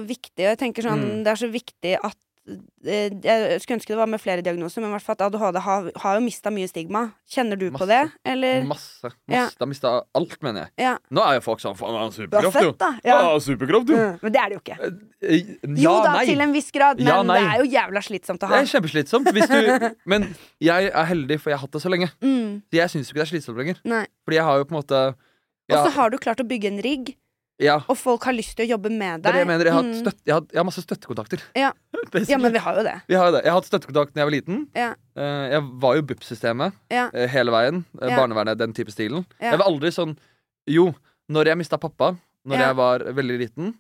A: viktig. Og jeg tenker sånn,
B: Mm.
A: det er så viktig at eh, jeg skulle ønske det var med flere diagnoser, men i hvert fall at ADHD har, har jo mista mye stigma. Kjenner du
B: Masse.
A: på det, eller?
B: Masse.
A: Eh, Ja.
B: masse. Da mista jeg alt, mener jeg.
A: Ja.
B: Nå er jo folk sånn, faen, han har
A: Du har
B: superkraft,
A: født,
B: jo.
A: da. Ja.
B: Ah, superkraft, jo.
A: Mm, Men det er det jo ikke.
B: Eh,
A: Jo
B: ja,
A: da,
B: nei.
A: til en viss grad, men
B: Ja, nei.
A: det er jo jævla slitsomt å
B: Det
A: ha.
B: er kjempeslitsomt. Hvis
A: [laughs]
B: du... Men jeg er heldig, for jeg har hatt det så lenge.
A: Mm,
B: Så jeg syns jo ikke det er slitsomt lenger.
A: nei.
B: Fordi jeg har jo på en måte
A: Og
B: ja,
A: så har du klart å bygge en rigg,
B: ja,
A: og folk har lyst til å jobbe med
B: Det
A: deg.
B: er det jeg mener. Jeg har, hatt
A: Mm.
B: støtt, jeg har, jeg har masse støttekontakter. [laughs]
A: Ja.
B: Basically.
A: Ja, men vi har jo det.
B: Vi har jo det. Jeg har hatt støttekontakt da jeg var liten.
A: Ja.
B: Eh, Jeg var jo BUP-systemet
A: Ja.
B: eh, hele veien. Eh,
A: Ja.
B: Barnevernet, den type stilen.
A: Ja.
B: Jeg var aldri sånn Jo, når jeg mista pappa, når
A: Ja.
B: jeg var veldig liten,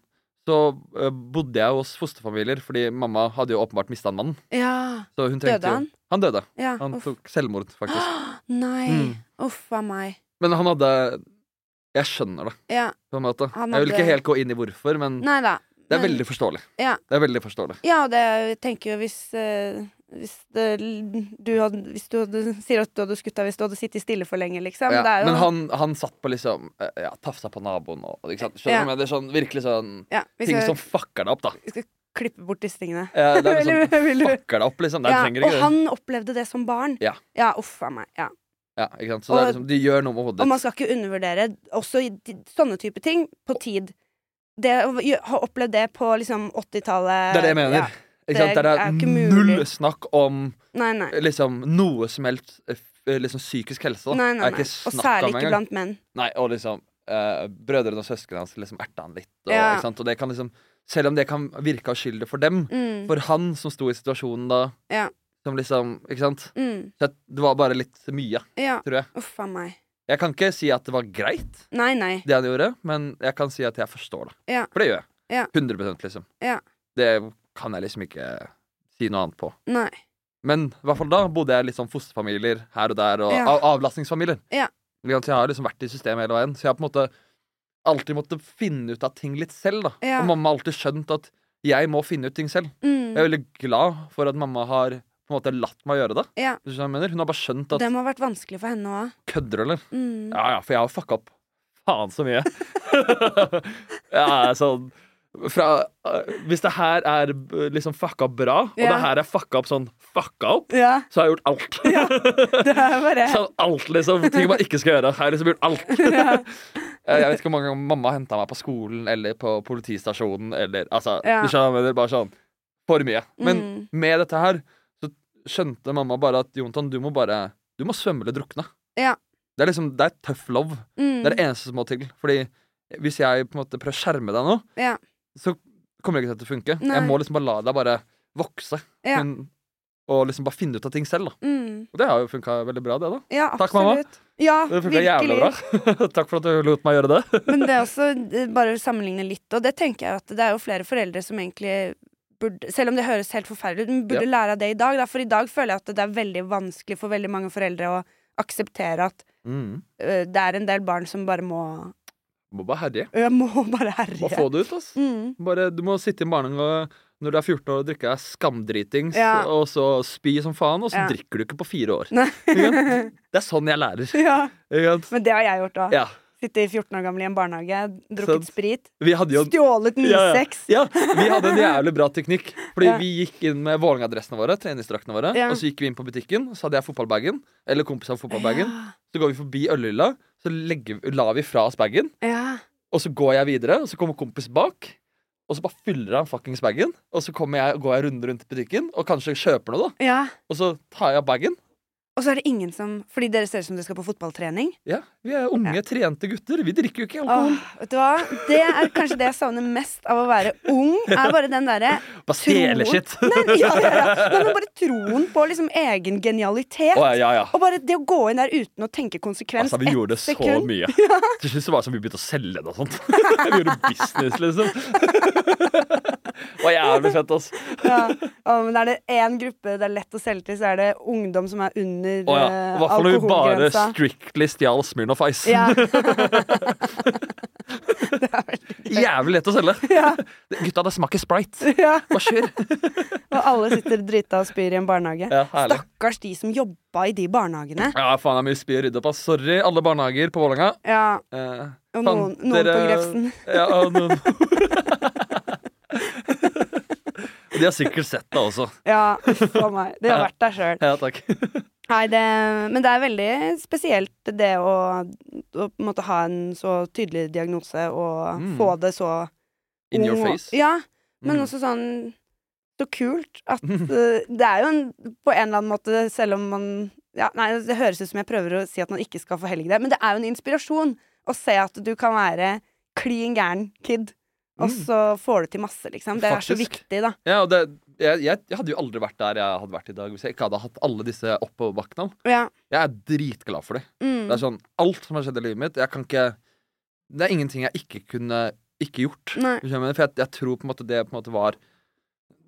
B: så eh, bodde jeg hos fosterfamilier, fordi mamma hadde jo åpenbart mista en mann.
A: Ja.
B: Så hun trengte
A: Døde
B: jo-
A: han?
B: Han døde.
A: Ja.
B: Han
A: Uff.
B: tok selvmord, faktisk.
A: [gasps] Nei.
B: Mm.
A: Uff a meg.
B: Men han hadde Jeg skjønner det,
A: Ja.
B: på en måte.
A: Han
B: Jeg vil ikke
A: hadde-
B: helt gå inn i hvorfor, men
A: Nei da.
B: Det er
A: Men-
B: veldig forståelig.
A: Ja.
B: Det er veldig forståelig.
A: Ja, og det jeg tenker jo hvis eh, hvis, det, du hadde, hvis du hadde, sier at du hadde skutt deg hvis du hadde sittet stille for lenge, liksom.
B: Ja,
A: det er jo,
B: men han, han satt på liksom eh, Ja, tafsa på naboen og ikke sant? Skjønner
A: Ja.
B: du? Men det er sånn, virkelig sånn
A: ja, vi
B: Ting
A: skal
B: som fucker deg opp, da.
A: klippe bort disse tingene.
B: Eh, Det er liksom
A: [laughs] Eller vil du-
B: Fucker deg opp, liksom. Det
A: ja,
B: trenger ikke
A: og
B: det.
A: han opplevde det som barn.
B: Ja.
A: ja uff a meg. Ja.
B: Ja, ikke sant? Så det
A: Og-
B: er liksom, de gjør noe med
A: Og
B: hodet ditt.
A: man skal ikke undervurdere også i de- sånne type ting på tid. Det å gjø- ha opplevd det på liksom 80-tallet
B: Det er det jeg mener.
A: Ja.
B: ikke
A: det
B: sant? Det
A: er
B: er
A: ikke
B: null
A: mulig.
B: snakk om
A: Nei, nei.
B: eh, liksom noe som helst eh, f- eh, liksom psykisk helse. Da.
A: nei,
B: Det
A: nei,
B: er
A: nei.
B: ikke
A: Og
B: snakk
A: særlig
B: om
A: ikke
B: engang.
A: blant menn.
B: Nei, og liksom eh, brødrene og søsknene hans liksom erta han litt. Og,
A: Ja.
B: ikke sant? og det kan liksom Selv om det kan virke uskyldig for dem,
A: Mm,
B: for han som sto i situasjonen da,
A: Ja.
B: som liksom Ikke sant?
A: mm,
B: Så det var bare litt mye,
A: ja,
B: tror jeg.
A: uff a meg.
B: Jeg kan ikke si at det var greit,
A: Nei, nei.
B: det han gjorde, men jeg kan si at jeg forstår det.
A: Ja.
B: For det gjør jeg.
A: Ja.
B: 100 liksom.
A: Ja.
B: Det kan jeg liksom ikke si noe annet på.
A: nei.
B: Men i hvert fall da bodde jeg litt sånn fosterfamilier her og der, og
A: Ja.
B: av avlastningsfamilier.
A: Ja.
B: Ikke sant, Så jeg har liksom vært i systemet hele veien, så jeg har på en måte alltid måttet finne ut av ting litt selv. da.
A: Ja.
B: Og mamma har alltid skjønt at jeg må finne ut ting selv. Jeg
A: Mm,
B: er veldig glad for at mamma har på en måte latt meg gjøre det.
A: Ja.
B: Hvis du skjønner hva jeg mener. Hun har bare skjønt at
A: det må ha vært vanskelig for henne òg.
B: kødder du, eller?
A: Mm.
B: Ja ja, for jeg har fucka opp faen så mye.
A: [laughs]
B: jeg er sånn fra, øh, Hvis det her er øh, liksom fucka opp bra, og
A: Ja.
B: det her er fucka opp sånn fucka opp,
A: Ja,
B: så har jeg gjort alt.
A: det er
B: [laughs]
A: bare
B: Sånn alt, liksom. Ting man ikke skal gjøre. Jeg har liksom gjort alt.
A: [laughs]
B: Eh,
A: ja.
B: Jeg vet ikke hvor mange ganger mamma henta meg på skolen eller på politistasjonen eller altså,
A: Ja.
B: Du skjønner hva jeg mener? Bare sånn for mye. Men
A: Mm.
B: med dette her så skjønte mamma bare at Jonathan, du må bare Du må svømme eller drukne.
A: Ja.
B: Det er liksom, det er tøff love.
A: Mm.
B: Det er det eneste som må til. Fordi hvis jeg på en måte prøver å skjerme deg nå,
A: Ja.
B: så kommer jeg ikke til at det funker.
A: Nei.
B: Jeg må liksom bare la deg bare vokse.
A: Ja.
B: Men, og liksom bare finne ut av ting selv, da.
A: Mm.
B: Og det har jo funka veldig bra, det, da.
A: ja, absolutt.
B: Takk, mamma.
A: Ja,
B: Det funka jævlig
A: virkelig.
B: bra. [laughs] Takk for at du lot meg gjøre det.
A: Men det er også eh, bare å sammenligne litt, og det tenker jeg at det er jo flere foreldre som egentlig burde Selv om det høres helt forferdelig ut, men burde lære av det i dag. Da. For i dag føler jeg at det er veldig vanskelig for veldig mange foreldre å akseptere at eh, det er en del barn som bare må
B: Må bare herje.
A: Jeg må [laughs] bare
B: Må
A: herje.
B: få det ut, ass.
A: Mm.
B: Bare, du må sitte i barnehagen og, når du er 14 år og drikke deg skamdritings,
A: Ja.
B: og så spy som faen, og så
A: Ja.
B: drikker du ikke på fire år.
A: Nei.
B: Ikke sant? Det er sånn jeg lærer.
A: ja.
B: Ikke sant?
A: Men det har jeg gjort òg.
B: Ja.
A: Sitte i 14 år gammel i en barnehage, drukket
B: Sant.
A: sprit,
B: Vi hadde jo
A: stjålet mye
B: Ja, ja.
A: sex.
B: ja, vi hadde en jævlig bra teknikk. Fordi
A: Ja.
B: vi gikk inn med Vålerenga-dressene våre, treningsdraktene våre,
A: Ja.
B: og så gikk vi inn på butikken, så hadde jeg fotballbagen, eller kompisen hadde fotballbagen. Så går vi forbi ølhylla, så legger, vi- la vi fra oss bagen,
A: [gasps] Ja.
B: og så går jeg videre, og så kommer kompis bak. Og så bare fyller han fuckings bagen, og så kommer jeg, går jeg runde rundt butikken og kanskje kjøper noe. da
A: ja. ja.
B: Og så tar jeg bagen.
A: Og så er det ingen som Fordi dere ser ut som dere skal på fotballtrening.
B: Ja, Vi er unge, trente gutter. Vi drikker jo ikke alkohol.
A: Åh, vet du hva? Det er kanskje det jeg savner mest av å være ung. Er bare den derre
B: Bare stjele
A: tror-
B: shit.
A: Nei, ja, ja, ja. Nei, men bare troen på liksom egen genialitet.
B: Å, ja, ja.
A: Og bare det å gå inn der uten å tenke konsekvens.
B: Altså, vi
A: ett
B: gjorde det så
A: [laughs] sekund.
B: mye. Til slutt så var det som vi begynte å selge det og sånt. [laughs] vi gjorde business, liksom. [laughs] det var jævlig fett, ass.
A: Ja. Å, men er det én gruppe det er lett å selge til, så er det ungdom som er under
B: Å ja.
A: eh,
B: I hvert fall når vi bare
A: alkoholgrensa.
B: strictly stjal Smirnoff Ice.
A: Ja. [laughs]
B: Jævlig lett å selge.
A: Ja.
B: Gutta, det smaker sprite.
A: ja.
B: Bare kjør.
A: [laughs] Og alle sitter drita og spyr i en barnehage.
B: Ja, herlig.
A: Stakkars de som jobba i de barnehagene.
B: Ja, faen, det er mye spy å rydde opp, ass. Sorry, alle barnehager på Vålerenga.
A: Ja,
B: Eh,
A: Og
B: faen,
A: noen, noen på Grefsen.
B: [laughs] Ja, og noen. De har sikkert sett det også.
A: Ja, uff a meg. De har vært der sjøl.
B: Ja, takk.
A: Nei, det, men det er veldig spesielt det å, å på en måte ha en så tydelig diagnose og
B: Mm.
A: få det så
B: In your
A: ung og-
B: face.
A: Ja, men
B: Mm.
A: også sånn så kult
B: [laughs]
A: at eh, Det er jo en, på en eller annen måte, selv om man ja, Nei, det høres ut som jeg prøver å si at man ikke skal forhelge det, men det er jo en inspirasjon å se at du kan være klin gæren kid, og
B: Mm.
A: så får du til masse, liksom. Det er så
B: Faktisk.
A: viktig, da.
B: Ja, og det, jeg, jeg, jeg hadde jo aldri vært der jeg hadde vært i dag hvis jeg ikke hadde hatt alle disse oppoverbakkene.
A: Ja.
B: Jeg er dritglad for dem.
A: Mm.
B: Det er sånn, Alt som har skjedd i livet mitt Jeg kan ikke Det er ingenting jeg ikke kunne ikke gjort.
A: Nei.
B: Hvis du skjønner hva jeg mener, For jeg, jeg tror på en måte det på en måte var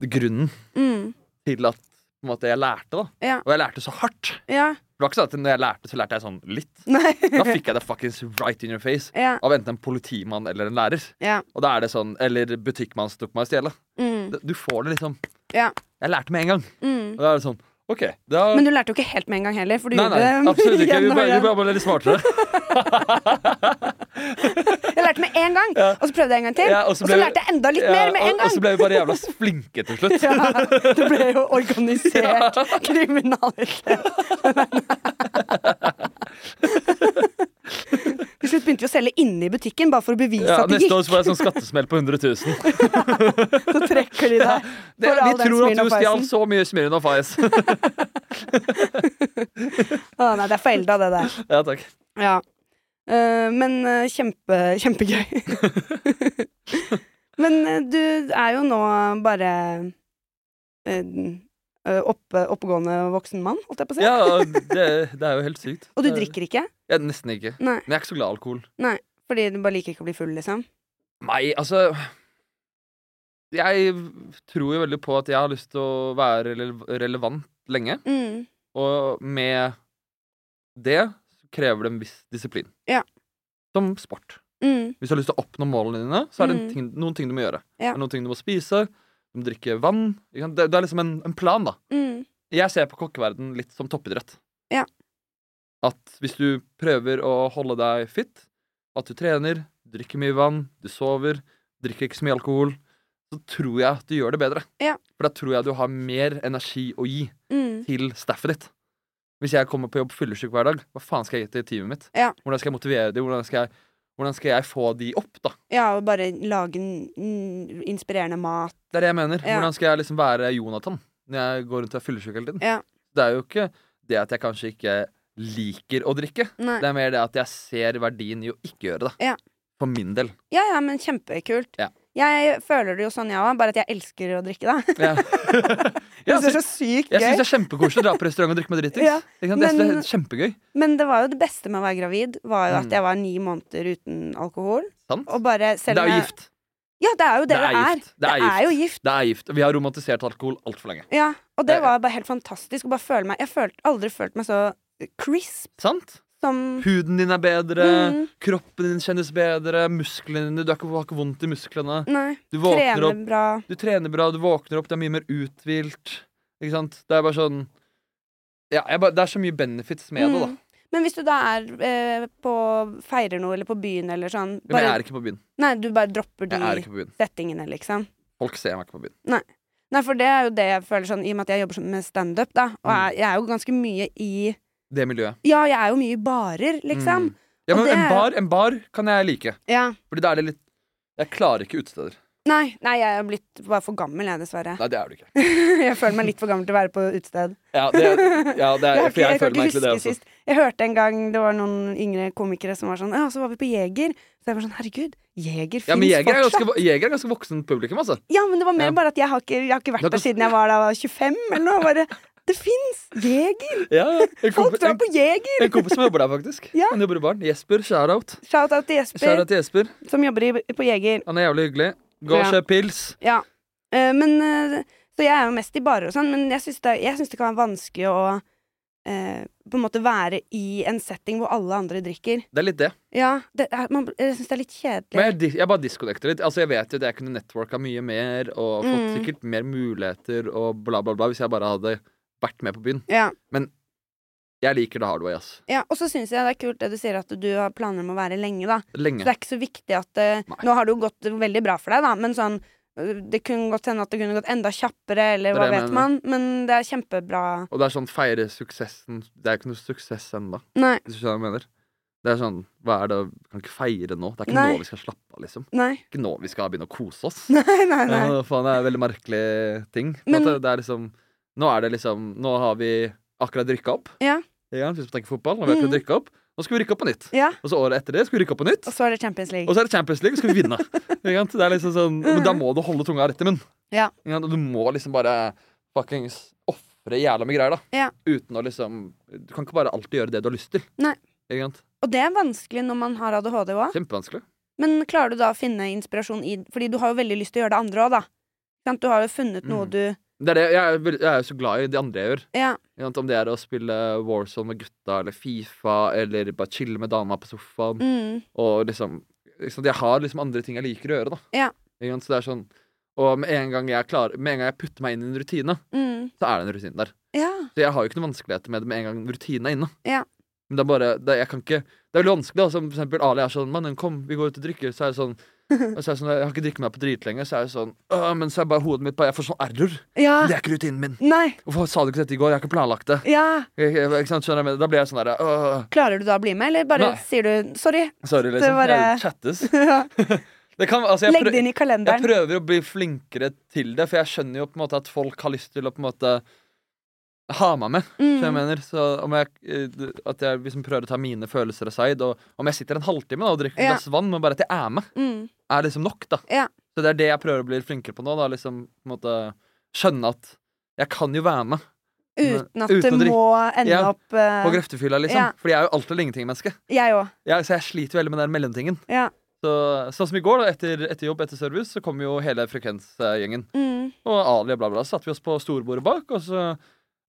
B: grunnen
A: Mm.
B: til at på en måte, jeg lærte. da
A: Ja.
B: Og jeg lærte så hardt.
A: ja. [laughs]
B: For det var ikke sånn at når jeg lærte, så lærte jeg sånn litt.
A: Nei.
B: Da fikk jeg det fuckings right in your face
A: ja.
B: av enten en politimann eller en lærer.
A: Ja.
B: Og da er det sånn, Eller butikkmann som tok meg i stjele.
A: Mm,
B: Det- Du får det liksom.
A: ja.
B: Jeg lærte med en gang.
A: Mm.
B: Og da er det sånn, OK. Da,
A: Men du lærte jo ikke helt med en gang heller, for du
B: nei, nei,
A: gjorde det
B: absolutt ikke. Vi
A: [laughs] gjennom
B: ble, vi
A: den.
B: ble bare litt
A: [laughs]
B: smartere.
A: Jeg lærte med en gang,
B: Ja.
A: og så prøvde jeg en gang til.
B: Ja,
A: og, så lærte jeg enda litt mer med
B: Ja,
A: en
B: og, og
A: gang.
B: så ble vi bare jævla flinke til slutt.
A: [laughs] Ja, [laughs] det ble jo
B: [laughs]
A: [laughs] organisert kriminalitet. Til slutt begynte vi å selge inne i butikken, bare for å bevise
B: Ja,
A: at det
B: neste
A: gikk.
B: år så får jeg sånn skattesmell på 100
A: [laughs]
B: 000.
A: Så trekker
B: [laughs]
A: de deg.
B: Det,
A: For all
B: vi
A: den
B: tror at du
A: Smirnoff-isen.
B: stjal så mye Smirnov Ice.
A: Å nei, det er forelda, det der.
B: [laughs] ja, takk.
A: Ja. Eh, men eh, kjempe, kjempegøy. [laughs] men eh, du er jo nå bare eh, eh, oppe, oppegående voksen mann, holdt jeg på å si.
B: Ja, det, det er jo helt sykt.
A: Og du
B: Det-
A: drikker ikke?
B: Ja, nesten ikke.
A: Nei.
B: Men jeg er ikke så glad i alkohol.
A: Fordi du bare liker ikke å bli full, liksom?
B: Nei, altså Jeg tror jo veldig på at jeg har lyst til å være rele- relevant lenge.
A: Mm.
B: Og med det så krever det en viss disiplin.
A: Ja.
B: Som sport.
A: Mm.
B: Hvis du har lyst til å oppnå målene dine, så er det en
A: Mm.
B: ting, noen ting du må gjøre.
A: Ja.
B: Det er noen ting du må spise, du må drikke vann. ikke sant? Det, det er liksom en, en plan, da.
A: Mm.
B: Jeg ser på kokkeverden litt som toppidrett.
A: Ja.
B: At hvis du prøver å holde deg fit, at du trener, drikker mye vann, du sover, drikker ikke så mye alkohol, så tror jeg at du gjør det bedre.
A: Ja.
B: For da tror jeg du har mer energi å gi
A: Mm.
B: til staffet ditt. Hvis jeg kommer på jobb fyllesyk hver dag, hva faen skal jeg gi til teamet mitt?
A: Ja.
B: Hvordan skal jeg motivere dem? Hvordan skal jeg, hvordan skal jeg få de opp, da?
A: Ja, og bare lage n- n- inspirerende mat.
B: Det er det jeg mener.
A: Ja.
B: Hvordan skal jeg liksom være Jonathan når jeg går rundt og er fyllesyk hele tiden?
A: Ja.
B: Det er jo ikke det at jeg kanskje ikke liker å drikke.
A: Nei.
B: Det er mer det at jeg ser verdien i å ikke gjøre det.
A: Ja.
B: For min
A: [laughs]
B: del.
A: Ja, ja, men kjempekult.
B: Ja.
A: Jeg føler det jo sånn, jeg òg, bare at jeg elsker å drikke, da. [laughs] Jeg
B: Ja. jeg
A: synes det
B: syns
A: er så sykt
B: altså, jeg
A: gøy.
B: syns det er kjempekoselig å dra på restaurant og drikke meg dritings.
A: Ja,
B: Ikke sant? Jeg synes
A: men-
B: det er kjempegøy.
A: Men det var jo det beste med å være gravid, var jo at
B: Mm.
A: jeg var ni måneder uten alkohol.
B: Sant?
A: Og bare
B: Det
A: selv
B: er
A: om
B: jo
A: jeg-
B: gift.
A: Ja, det er jo det det
B: Det er
A: er.
B: gift. Det er gift.
A: jo gift.
B: Det er gift. Vi har romantisert alkohol altfor lenge.
A: Ja, og det
B: Det-
A: var bare helt fantastisk å bare føle meg Jeg har aldri følt meg så crisp
B: Sant?
A: som
B: Huden din er bedre,
A: Mm.
B: kroppen din kjennes bedre, musklene dine Du har ikke, har ikke vondt i musklene.
A: Nei.
B: Du våkner opp
A: Trene bra.
B: du trener bra, du våkner opp, du er mye mer uthvilt. Ikke sant? Det er bare sånn ja, jeg bare, Det er så mye benefits med det, da.
A: Mm. Men hvis du da er eh, på feirer noe, eller på byen eller sånn
B: Men jeg
A: bare,
B: er ikke på byen.
A: Nei, du bare dropper
B: Jeg er
A: de
B: ikke på byen.
A: settingene, liksom.
B: Folk ser meg ikke på byen.
A: Nei, for det er jo det jeg føler sånn, i og med at jeg jobber sånn med standup, da. Og
B: Mm.
A: jeg, jeg er jo ganske mye i
B: Det miljøet.
A: Ja, jeg er jo mye i barer, liksom.
B: Mm. Ja,
A: Og
B: men
A: det
B: en
A: er-
B: bar, en bar kan jeg like.
A: Ja.
B: Fordi da er det litt Jeg klarer ikke utesteder.
A: Nei, nei, jeg er blitt bare for gammel, jeg, dessverre. [laughs]
B: Nei, det er du ikke.
A: jeg føler meg litt for gammel til å være på utested.
B: Ja, det, ja,
A: [laughs]
B: det er,
A: har
B: for
A: ikke- kan
B: jeg, føler meg
A: ikke
B: egentlig
A: huske
B: det også.
A: sist. Jeg hørte en gang det var noen yngre komikere som var sånn Ja, så var vi på Jeger. Så jeg var sånn Herregud, Jeger
B: Ja,
A: fins
B: men Jeger er
A: fortsatt.
B: ganske, jeger er ganske voksen publikum, altså.
A: Ja, men det var mer
B: Ja.
A: bare at jeg har ikke, jeg har ikke
B: Du
A: vært
B: har
A: der
B: ikke-
A: siden jeg var da jeg var 25 eller noe. Bare, det fins Jeger!
B: Ja, en, [laughs]
A: Folk
B: kompis,
A: drar
B: en,
A: på Jeger!
B: en kompis som jobber der, faktisk.
A: Ja.
B: Han jobber i baren. Jesper, shout-out.
A: Shout-out til Jesper,
B: Shout-out til Jesper.
A: som jobber i, på Jeger.
B: Han er jævlig hyggelig. Gå
A: Ja.
B: og kjøp pils.
A: Ja. Eh, men eh, Så jeg er jo mest i barer og sånn, men jeg syns det, jeg syns det kan være vanskelig å eh, på en måte være i en setting hvor alle andre drikker.
B: Det er litt det.
A: Ja, det er, man, jeg syns det er litt kjedelig.
B: Men jeg, dis- jeg bare disconnecter litt. Altså Jeg vet jo at jeg kunne networka mye mer og fått
A: Mm.
B: sikkert mer muligheter og bla, bla, bla hvis jeg bare hadde vært med på byen.
A: Ja,
B: Jeg liker det hardway, ass.
A: ja. Og så syns jeg det er kult det du sier at du har planer om å være lenge, da. Så det
B: Lenge.
A: er ikke så viktig at eh,
B: Nei.
A: Nå har det jo gått veldig bra for deg, da, men sånn eh, det kunne godt hende at det kunne gått enda kjappere,
B: Det
A: eller
B: er
A: hva
B: det jeg
A: vet
B: mener.
A: man. Men det er kjempebra.
B: Og det er sånn feire suksessen Det er ikke noe suksess ennå,
A: Nei.
B: hvis du skjønner hva jeg mener. Det er sånn Hva er det Kan ikke feire nå. Det er ikke
A: Nei.
B: nå vi skal slappe av, liksom.
A: Nei.
B: Ikke nå vi skal begynne å kose oss.
A: [laughs] Nei, nei, nei.
B: Ja, faen, det er veldig merkelig ting. På en
A: Men-
B: måte. det er liksom, nå er det liksom Nå har vi akkurat drikka opp.
A: Ja.
B: Ja, hvis vi tenker fotball, nå har vi akkurat
A: Mhm.
B: drikket opp. Nå skal vi rykke opp på nytt.
A: Ja.
B: Og så året etter det skal vi rykke opp på nytt.
A: Og så er det Champions League.
B: Og så er det Champions League, og skal
A: [laughs]
B: vi vinne. Ikke sant? det er liksom sånn, men da må du holde tunga rett i munnen.
A: Ja.
B: Ikke sant? Og Du må liksom bare fuckings ofre jævla mye greier, da.
A: Ja.
B: Uten å liksom Du kan ikke bare alltid gjøre det du har lyst til.
A: Nei.
B: Ikke sant?
A: Og det er vanskelig når man har ADHD òg.
B: Kjempevanskelig.
A: Men klarer du da å finne inspirasjon i Fordi du har jo veldig lyst til å gjøre det andre òg, da. Sant? Du har jo funnet noe
B: Mm.
A: du
B: Det er det, jeg, er, veld- jeg er jo så glad i de andre jeg gjør.
A: Ja,
B: Ikke sant? Om det er å spille Warzone med gutta eller Fifa eller bare chille med dama på sofaen.
A: mm,
B: Og liksom, ikke sant? Jeg har liksom andre ting jeg liker å gjøre, da.
A: Ja.
B: Ikke sant? Så det er sånn Og med en gang jeg, klarer, med en gang jeg putter meg inn i en rutine,
A: mm,
B: så er det en rutine der.
A: ja,
B: Så jeg har jo ikke noen vanskeligheter med det med en gang rutinen er inne.
A: Ja.
B: Men det er bare det, Jeg kan ikke Det er veldig vanskelig, da. Som for eksempel Ali er sånn 'Mannen, kom, vi går ut og drikker.' Så er
A: [laughs]
B: det sånn og så er det sånn, Jeg har ikke drikket meg på drit lenge, så er det sånn «Åh, Men så er bare hodet mitt bare Jeg får sånn error.
A: ja.
B: Det er ikke rutinen min.
A: Nei,
B: Hvorfor sa du ikke dette i går? Jeg har ikke planlagt det.
A: ja.
B: Jeg- jeg- Ikke sant, skjønner jeg men Da blir jeg sånn derre «Åh,
A: Klarer du da å bli med, eller bare
B: Nei.
A: sier du sorry? [laughs]
B: Sorry, liksom.
A: var, eh,
B: Jeg chattes. Det kan, altså, jeg
A: Legg
B: prø-
A: det inn i
B: Jeg
A: kalenderen.
B: prøver å bli flinkere til det, for jeg skjønner jo på en måte at folk har lyst til å på en måte ha meg med. Så jeg
A: Mm,
B: mener, så om jeg, eh, at jeg liksom prøver å ta mine følelser aside, og om jeg sitter en halvtime da, og drikker et
A: Ja.
B: glass vann, men bare at jeg er med,
A: mm,
B: er liksom nok, da.
A: Ja.
B: Så det er det jeg prøver å bli flinkere på nå, da. Liksom på en måte skjønne at jeg kan jo være med
A: uten at
B: Uten å
A: du
B: drikke.
A: må ende
B: Ja,
A: opp eh,
B: på grøftefylla, liksom.
A: Ja.
B: Fordi jeg er jo alt eller ingenting-menneske.
A: Jeg òg.
B: Jeg- Så jeg sliter veldig med den mellomtingen.
A: Ja.
B: Så, sånn som i går, da, etter, etter jobb, etter service, så kom jo hele frekvensgjengen.
A: Mm,
B: Og Ali og bla, bla. Så satte vi oss på storbordet bak, og så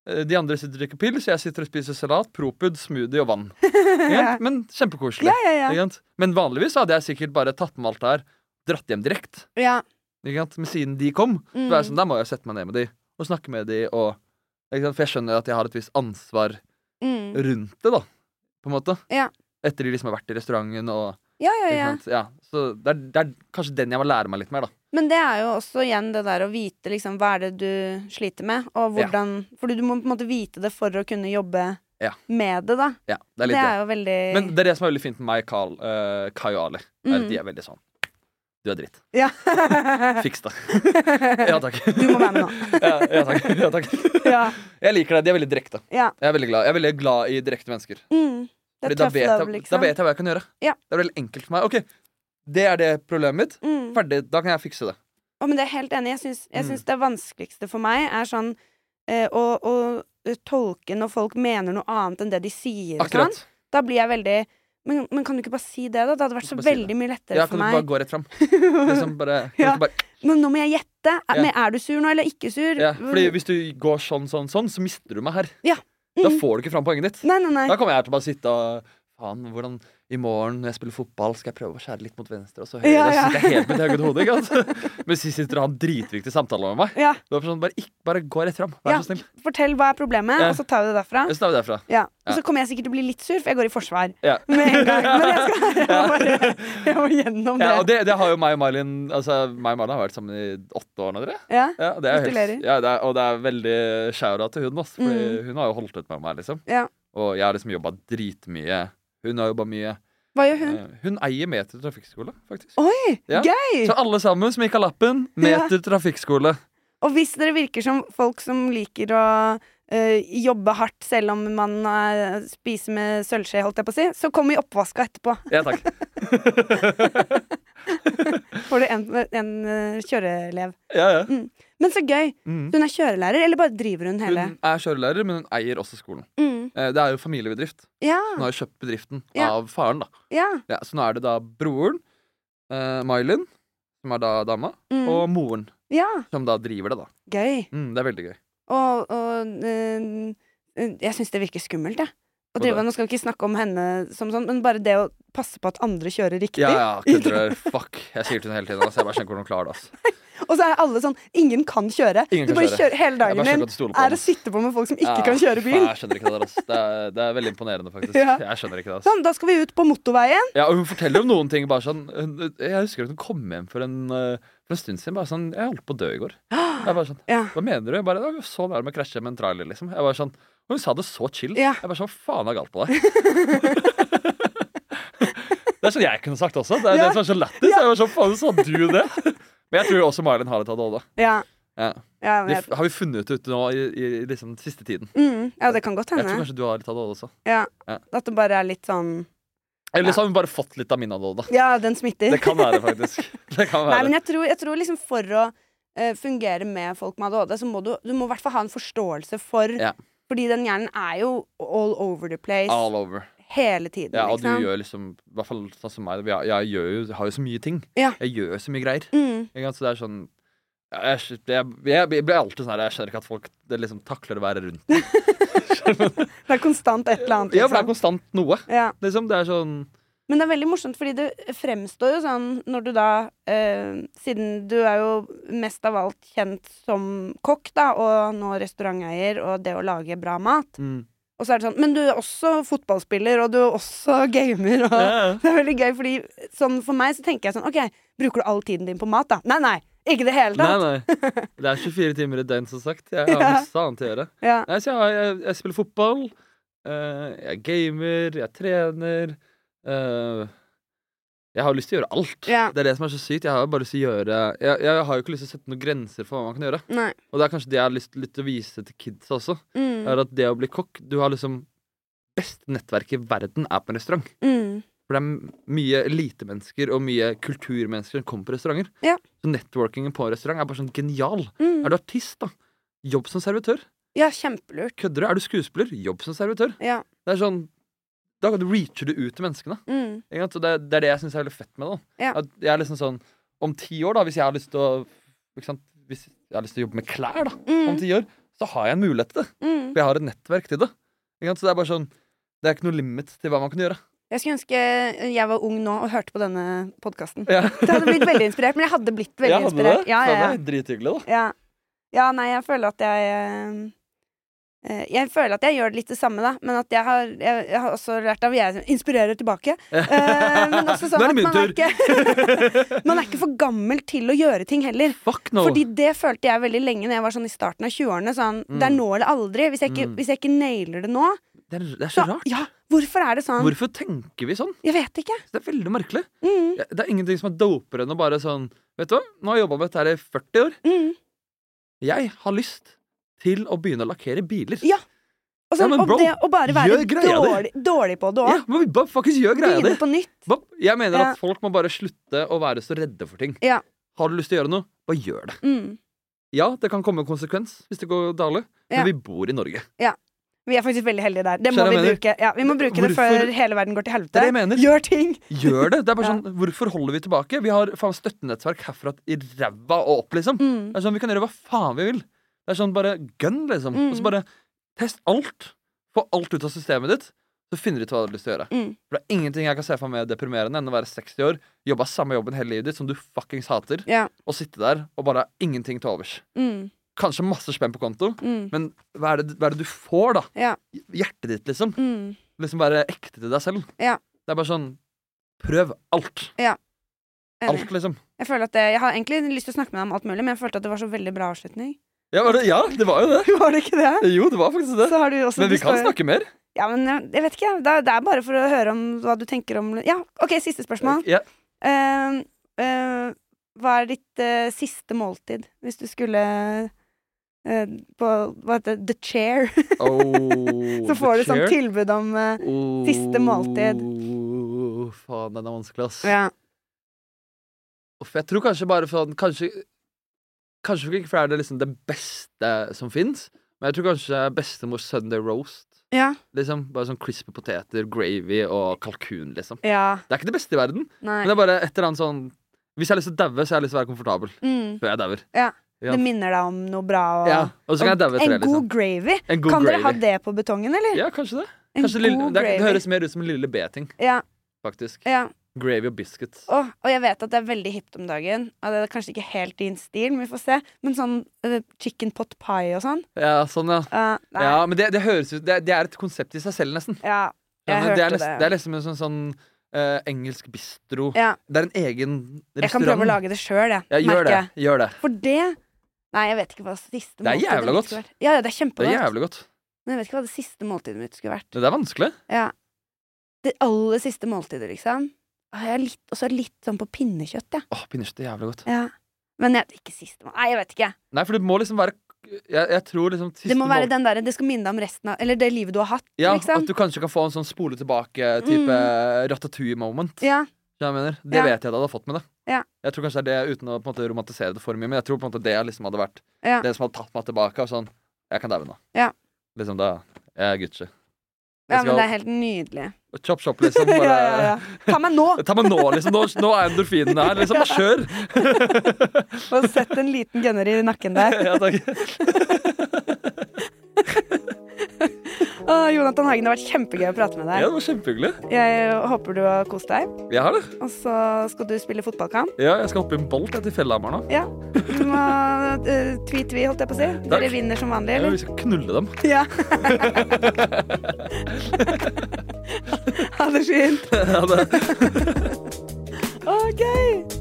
B: eh, de andre sitter og drikker pils, jeg sitter og spiser salat, propud, smoothie og vann.
A: [laughs]
B: Ikke sant? Men kjempekoselig.
A: ja, ja, ja.
B: Ikke sant? Men vanligvis hadde jeg sikkert bare tatt med alt det her, dratt hjem direkte.
A: ja.
B: Ikke sant? Men siden de kom, så var jeg
A: Mm.
B: sånn, da må jeg sette meg ned med de og snakke med de og ikke sant? For jeg skjønner at jeg har et visst ansvar
A: Mm.
B: rundt det, da. På en måte.
A: Ja.
B: Etter de liksom har vært i restauranten og
A: Ja, ja,
B: ikke
A: ja.
B: sant? Ja. Så det er, det er kanskje den jeg må lære meg litt mer, da.
A: Men det er jo også igjen det der å vite liksom, hva er det du sliter med, og
B: Ja.
A: hvordan Fordi du må på en måte vite det for å kunne jobbe
B: Ja.
A: med det, da.
B: Ja, det
A: Det er,
B: er litt det.
A: jo veldig
B: Men det er det som er veldig fint med meg, Carl, eh, Kai og Ali. Er at
A: Mm.
B: de er veldig sånn Du er dritt. [laughs]
A: Ja.
B: Fiks det.
A: [laughs]
B: ja takk.
A: Du må være med nå.
B: ja, ja, takk. ja takk.
A: Ja.
B: Jeg liker deg. De er veldig direkte.
A: Ja.
B: Jeg er veldig glad Jeg er veldig glad i direkte mennesker.
A: Mm. Det
B: Fordi
A: er
B: da,
A: tough
B: vet
A: love,
B: jeg,
A: liksom.
B: da vet jeg hva jeg kan gjøre.
A: Ja.
B: Det er veldig enkelt for meg. OK, det er det problemet mitt.
A: Mm.
B: Ferdig. Da kan jeg fikse det.
A: Å, men det er helt enig. Jeg syns, jeg
B: Mm.
A: syns det vanskeligste for meg er sånn eh, å, å eh, tolke når folk mener noe annet enn det de sier. og
B: Akkurat.
A: Sånn. Da blir jeg veldig men, men kan du ikke bare si det, da? Det hadde vært så
B: Bare si det.
A: veldig mye lettere
B: Ja,
A: for
B: kan du
A: meg.
B: bare gå rett fram? Liksom
A: [laughs]
B: bare, kan du
A: Ja.
B: ikke bare
A: Men nå må jeg gjette. Er,
B: Ja.
A: men er du sur nå, eller ikke sur?
B: ja. Fordi hvis du går sånn, sånn, sånn, så mister du meg her.
A: Ja.
B: Da
A: Mhm.
B: får du ikke fram poenget ditt.
A: Nei, nei, nei.
B: Da kommer jeg til å bare sitte og Faen, hvordan I morgen når jeg spiller fotball, skal jeg prøve å skjære litt mot venstre og så høyre.
A: Ja,
B: Så
A: ja.
B: sitter jeg helt med et høyt hode, ikke
A: [laughs]
B: sant? Mens de sitter og har dritviktige samtaler med meg.
A: Ja,
B: Det var sånn, bare, ikk, bare gå rett fram. Vær
A: Ja.
B: så snill.
A: Fortell hva er problemet,
B: Ja.
A: og så tar vi det derfra.
B: Så tar vi derfra.
A: Ja.
B: Ja.
A: Og så kommer jeg sikkert til å bli litt sur, for jeg går i forsvar
B: Ja.
A: med en gang. Men jeg,
B: [laughs]
A: skal, [laughs] jeg, må, bare, jeg må gjennom
B: Ja, og
A: det.
B: det, det har jo meg og Marlin Altså, meg og Marlin har vært sammen i åtte år nå, dere.
A: Ja.
B: Ja, og det er jo helt,
A: Gratulerer. Mm.
B: ja, det er, og det er veldig shout-out til hun, altså, Fordi hun har jo holdt ut med meg, liksom.
A: Ja.
B: Og jeg har liksom jobba dritmye. Hun har jobba mye.
A: Hva gjør hun?
B: Eh, Hun eier Meter trafikkskole, faktisk.
A: Oi,
B: Ja.
A: gøy!
B: Så alle sammen som gikk av lappen, Meter trafikkskole.
A: Og hvis dere virker som folk som liker å eh, jobbe hardt selv om man eh, spiser med sølvskje, holdt jeg på å si, så kom i oppvaska etterpå.
B: Ja, takk.
A: Får du en, en eh, kjøreelev.
B: Ja, ja.
A: Men så gøy!
B: Mm.
A: Hun er kjørelærer, eller bare driver hun hele?
B: Hun er kjørelærer, men hun eier også skolen.
A: Mm.
B: Eh, Det er jo familiebedrift.
A: Ja,
B: Hun har jo kjøpt bedriften
A: Ja.
B: av faren. da
A: ja.
B: ja, Så nå er det da broren, eh, Mylin, som er da dama,
A: Mm.
B: og moren,
A: Ja,
B: som da driver det. da
A: gøy.
B: mm, Det er veldig gøy.
A: Og, og øh, øh, jeg syns det virker skummelt, jeg. Å
B: Hva
A: drive,
B: da?
A: nå skal vi ikke snakke om henne som sånn, men bare det å passe på at andre kjører riktig. [laughs]
B: Ja, ja, kødder du? Fuck. Jeg sier det til henne hele tiden. Altså. Jeg bare skjønner ikke hvordan hun klarer det. Altså.
A: Og så er alle sånn Ingen kan kjøre.
B: Ingen
A: du
B: kan
A: bare
B: kjøre.
A: kjører hele
B: Jeg bare
A: dagen din.
B: skjønner ikke at du stoler på Ah,
A: Er å
B: henne.
A: sitte på med folk som ikke
B: Ja,
A: kan kjøre bil.
B: faen, Jeg skjønner ikke det der, altså. Det er, det er veldig imponerende, faktisk.
A: Ja.
B: Jeg skjønner ikke det, altså.
A: Sånn, da skal vi ut på motorveien.
B: Ja, og hun forteller om noen ting bare sånn hun- Jeg husker at hun kom hjem for en, eh, for en stund siden bare sånn Jeg holdt på å dø i går. Jeg bare sånn
A: Ja.
B: Hva mener du? Jeg bare, det var jo så nærme å krasje med en trailer, liksom. Jeg bare sånn, og hun sa det så chill.
A: Ja.
B: Jeg bare sånn, "Hva faen er galt på deg? [laughs] det er sånn jeg kunne sagt også. Det er
A: Ja.
B: det som er så lættis. Jeg bare sånn, faen, sa du det? [laughs] Men jeg tror jo også Marlin har et ADHD.
A: Ja.
B: Ja.
A: Ja,
B: Det
A: men
B: f-
A: jeg,
B: har vi funnet ut nå i, i liksom, siste tiden.
A: mm, ja, det kan godt
B: Jeg tror
A: hende.
B: kanskje du har litt ADHD også.
A: Ja,
B: Ja.
A: at det bare er litt sånn
B: Eller så har hun bare fått litt av min ADHD.
A: [laughs] Ja, den smitter.
B: Det kan være, faktisk. Det kan
A: Nei,
B: være.
A: men jeg tror, jeg tror liksom for å eh, fungere med folk med ADHD, så må du, du må i hvert fall ha en forståelse for
B: Ja.
A: Fordi den hjernen er jo all over the place
B: All over.
A: hele tiden.
B: Ja, og du
A: liksom.
B: gjør liksom I hvert fall sånn som meg. Jeg, jeg, gjør jo, jeg har jo så mye ting.
A: Ja.
B: Jeg gjør jo så mye greier.
A: Mm,
B: Ikke sant? Så det er sånn Jeg, jeg, jeg, jeg ble alltid sånn her Jeg skjønner ikke at folk det liksom takler å være
A: [laughs]
B: rundt.
A: Det er konstant et eller annet.
B: Ja, for det er
A: liksom.
B: konstant noe.
A: Ja.
B: Liksom, det er sånn
A: Men det er veldig morsomt, fordi det fremstår jo sånn når du da eh, Siden du er jo mest av alt kjent som kokk, da, og nå restauranteier, og det å lage bra mat.
B: mm.
A: Og så er det sånn Men du er også fotballspiller, og du er også gamer, og
B: Ja,
A: [laughs] Det er veldig gøy, fordi sånn for meg så tenker jeg sånn OK, bruker du all tiden din på mat, da? Nei, nei! Ikke det hele
B: Nei,
A: tatt.
B: nei.
A: [laughs]
B: Det er 24 timer i døgn, som sagt. Jeg har
A: Ja.
B: masse annet å gjøre.
A: Ja.
B: Nei, så jeg, har- jeg, jeg spiller fotball. eh, jeg gamer. Jeg trener. eh, jeg har lyst til å gjøre alt.
A: Ja.
B: Det er det som er så sykt. Jeg har bare lyst til å gjøre jeg, jeg har jo ikke lyst til å sette noen grenser for hva man kan gjøre.
A: Nei.
B: Og det er kanskje det jeg har lyst litt til å vise til kidsa også.
A: Mm.
B: Er at det å bli kokk Du har liksom Beste nettverk i verden er på en restaurant.
A: Mm.
B: For det er m- mye elitemennesker og mye kulturmennesker som kommer på restauranter.
A: Ja.
B: Så networkingen på en restaurant er bare sånn genial.
A: Mm.
B: Er du artist, da? Jobb som servitør.
A: Ja, kjempelurt.
B: Kødder du? Er du skuespiller? Jobb som servitør.
A: Ja.
B: Det er sånn Da kan du reacher du ut til menneskene.
A: Mm.
B: Ikke sant? Så det, det er det jeg syns er veldig fett med det. da.
A: Ja.
B: At jeg er liksom sånn Om ti år, da, hvis jeg har lyst til å ikke sant? Hvis jeg har lyst til å jobbe med klær da, om
A: Mm.
B: ti år, så har jeg en mulighet til det.
A: Mm.
B: For jeg har et nettverk til det. Ikke sant? Så det er bare sånn Det er ikke noe limit til hva man kan gjøre.
A: Jeg skulle ønske jeg var ung nå og hørte på denne podkasten.
B: Ja.
A: Det hadde blitt veldig inspirert, men jeg hadde blitt veldig
B: Ja, hadde du
A: inspirert.
B: det?
A: Ja,
B: Faen,
A: ja,
B: Det er drithyggelig, da.
A: ja. ja. ja, nei, jeg føler at jeg eh, eh, Jeg føler at jeg gjør litt det samme, da, men at jeg har, jeg, jeg har også lært av jeg inspirerer
B: [laughs]
A: tilbake. Eh, men også sånn
B: Nå
A: at
B: er det
A: man er,
B: min
A: ikke, [laughs] man er ikke for gammel til å gjøre ting heller.
B: Fuck no.
A: Fordi det følte jeg veldig lenge Når jeg var sånn i starten av 20-årene. Sånn, Det er
B: Mm.
A: nå eller aldri. Hvis jeg ikke,
B: Mm.
A: hvis jeg ikke nailer det nå,
B: det, er, det er så
A: så
B: rart.
A: ja, hvorfor er det sånn?
B: Hvorfor tenker vi sånn?
A: Jeg vet ikke.
B: Det er veldig merkelig.
A: Mm,
B: Det er ingenting som er dopere enn å bare sånn Vet du hva, nå har jeg jobba med dette her i 40 år.
A: mm.
B: Jeg har lyst til å begynne å lakkere biler.
A: Ja, Og, så,
B: Ja, men
A: og
B: bro,
A: det å bare være
B: gjør greia di.
A: dårlig, dårlig på det
B: Ja,
A: òg.
B: men bare faktisk gjør greia di.
A: Begynne på nytt.
B: Bare- Jeg mener
A: Ja.
B: at folk må bare slutte å være så redde for ting.
A: Ja.
B: Har du lyst til å gjøre noe, bare gjør det.
A: Mm.
B: Ja, det kan komme en konsekvens hvis det går dårlig,
A: Ja.
B: men vi bor i Norge.
A: Vi er faktisk veldig heldige der. Det må
B: Skjønner
A: vi
B: jeg mener.
A: bruke. Ja, vi må bruke det
B: Hvorfor-
A: før hele verden går til
B: Det
A: helvete.
B: er det jeg mener.
A: Gjør ting!
B: Gjør det! det er bare
A: [laughs] Ja.
B: sånn, Hvorfor holder vi tilbake? Vi har faen støttenettverk herfra i ræva og opp, liksom.
A: Mm.
B: Det er sånn, Vi kan gjøre hva faen vi vil. Det er sånn, Bare gønn, liksom.
A: Mm.
B: Og så bare test alt. Få alt ut av systemet ditt. Så finner du ut hva du har lyst til å gjøre.
A: Mm.
B: For det er ingenting jeg kan se for meg mer deprimerende enn å være 60 år, jobbe samme jobben hele livet ditt som du fuckings hater,
A: Ja.
B: og sitte der og bare ha ingenting til overs.
A: Mm.
B: Kanskje masse spenn på konto,
A: Mm.
B: men hva er det, hva er det du får, da?
A: Ja.
B: Hjertet ditt, liksom.
A: Mm.
B: Liksom Være ekte til deg selv.
A: Ja.
B: Det er bare sånn Prøv alt.
A: Enig.
B: Alt, liksom.
A: Jeg, føler at det, jeg har egentlig lyst til å snakke med deg om alt mulig, men jeg følte at det var så veldig bra avslutning.
B: Ja, var det, ja, det var jo det.
A: [laughs] Var det ikke det?
B: Jo, det var faktisk det.
A: Så har du også
B: Men vi
A: du
B: kan
A: står-
B: snakke mer.
A: Ja, men jeg, jeg vet ikke. Det er, det er bare for å høre om hva du tenker om Ja, OK, siste spørsmål.
B: Ja.
A: Eh, eh, hva er ditt eh, siste måltid, hvis du skulle eh, på hva heter det, The Chair? [laughs]
B: Oh,
A: Så får du
B: the
A: sånn
B: chair.
A: tilbud om eh,
B: Oh,
A: siste måltid.
B: Faen, den er vanskelig, ass.
A: Ja.
B: Uff, jeg tror kanskje bare sånn Kanskje Kanskje ikke fordi det er liksom det beste som fins, men jeg tror kanskje bestemors Sunday roast.
A: Ja.
B: Liksom, Bare sånn crispy poteter, gravy og kalkun, liksom.
A: ja.
B: Det er ikke det beste i verden,
A: Nei.
B: men det er bare et eller annet sånn Hvis jeg har lyst til å daue, så har jeg lyst til å være komfortabel
A: Mm.
B: før jeg dauer. Ja.
A: Det minner deg om noe bra. Og,
B: Ja, og så kan jeg
A: og
B: daue etter
A: en
B: det,
A: god
B: liksom.
A: gravy.
B: En god
A: kan dere ha
B: gravy.
A: det på betongen, eller?
B: Ja, kanskje det.
A: En
B: Kanskje lille,
A: god
B: det, er- det
A: gravy.
B: høres mer ut som en Lille B-ting,
A: Ja,
B: faktisk.
A: ja.
B: Gravy og biscuits.
A: Åh, og jeg vet at det er veldig hipt om dagen. Og det er kanskje ikke helt din stil, men vi får se. Men sånn eh, chicken pot pie og sånn.
B: Ja, sånn, ja.
A: eh, nei.
B: Ja, men det, det høres ut det, det er et konsept i seg selv, nesten.
A: Ja, jeg
B: Ja, men det,
A: hørte
B: er nesten, det
A: det.
B: er liksom en sånn, sånn eh, engelsk bistro.
A: Ja.
B: Det er en egen restaurant.
A: Jeg kan prøve å lage det sjøl, jeg.
B: ja, gjør
A: merker jeg.
B: det. Gjør det.
A: For det Nei, jeg vet ikke hva siste
B: Det er
A: måltidet
B: jævla
A: mitt
B: godt.
A: skulle vært. Ja, ja, det er
B: Det er
A: kjempegodt.
B: jævlig godt.
A: Men jeg vet ikke hva det siste måltidet mitt skulle vært.
B: Men Det er vanskelig.
A: Ja. Det aller siste måltidet, liksom. Åh, Jeg er litt, også litt sånn på pinnekjøtt, jeg.
B: Åh, pinnekjøtt er jævlig godt.
A: Ja. Men jeg, ikke siste måltid. Nei, jeg vet ikke.
B: Nei, for det må liksom være Jeg, jeg tror liksom siste
A: Det må være
B: mål-
A: den derre Det skal minne deg om resten av Eller det livet du har hatt,
B: Ja,
A: liksom.
B: At du kanskje kan få en sånn spole tilbake-type ratatouille-moment.
A: Mm. Ja.
B: Skjønner du hva Jeg mener Det
A: Ja.
B: vet jeg at jeg hadde fått med det.
A: Ja.
B: Jeg tror kanskje det er det uten å på en måte romantisere det for mye, men jeg tror på en måte det liksom hadde vært
A: Ja.
B: det som hadde tatt meg tilbake. Og sånn, jeg kan daue nå.
A: Ja.
B: Liksom da Jeg er Gucci. Jeg
A: Ja, men
B: skal- [laughs]
A: det er helt nydelig.
B: Kjapp, kjapp, liksom.
A: [laughs]
B: Bare,
A: ja, ja, ja. Ta meg nå!
B: Ta meg nå, liksom. Nå, nå er endorfinene her. Liksom, bare kjør!
A: Og sett en liten gunner i nakken der.
B: [laughs] Ja, takk.
A: Å, Jonathan Hagen, det har vært kjempegøy å prate med
B: Ja,
A: deg.
B: det var kjempehyggelig.
A: Jeg håper du har kost deg.
B: Jeg har det.
A: Og så skal du spille fotballkamp.
B: Ja, jeg skal hoppe i en bolt jeg, til Fjellhamar nå.
A: Ja. Du må eh, tvi-tvi, holdt jeg på å si. Dere
B: Takk.
A: vinner som vanlig,
B: Ja,
A: eller?
B: vi skal knulle dem.
A: Ja.
B: [laughs]
A: ha det fint.
B: Ja, det.
A: Å, gøy!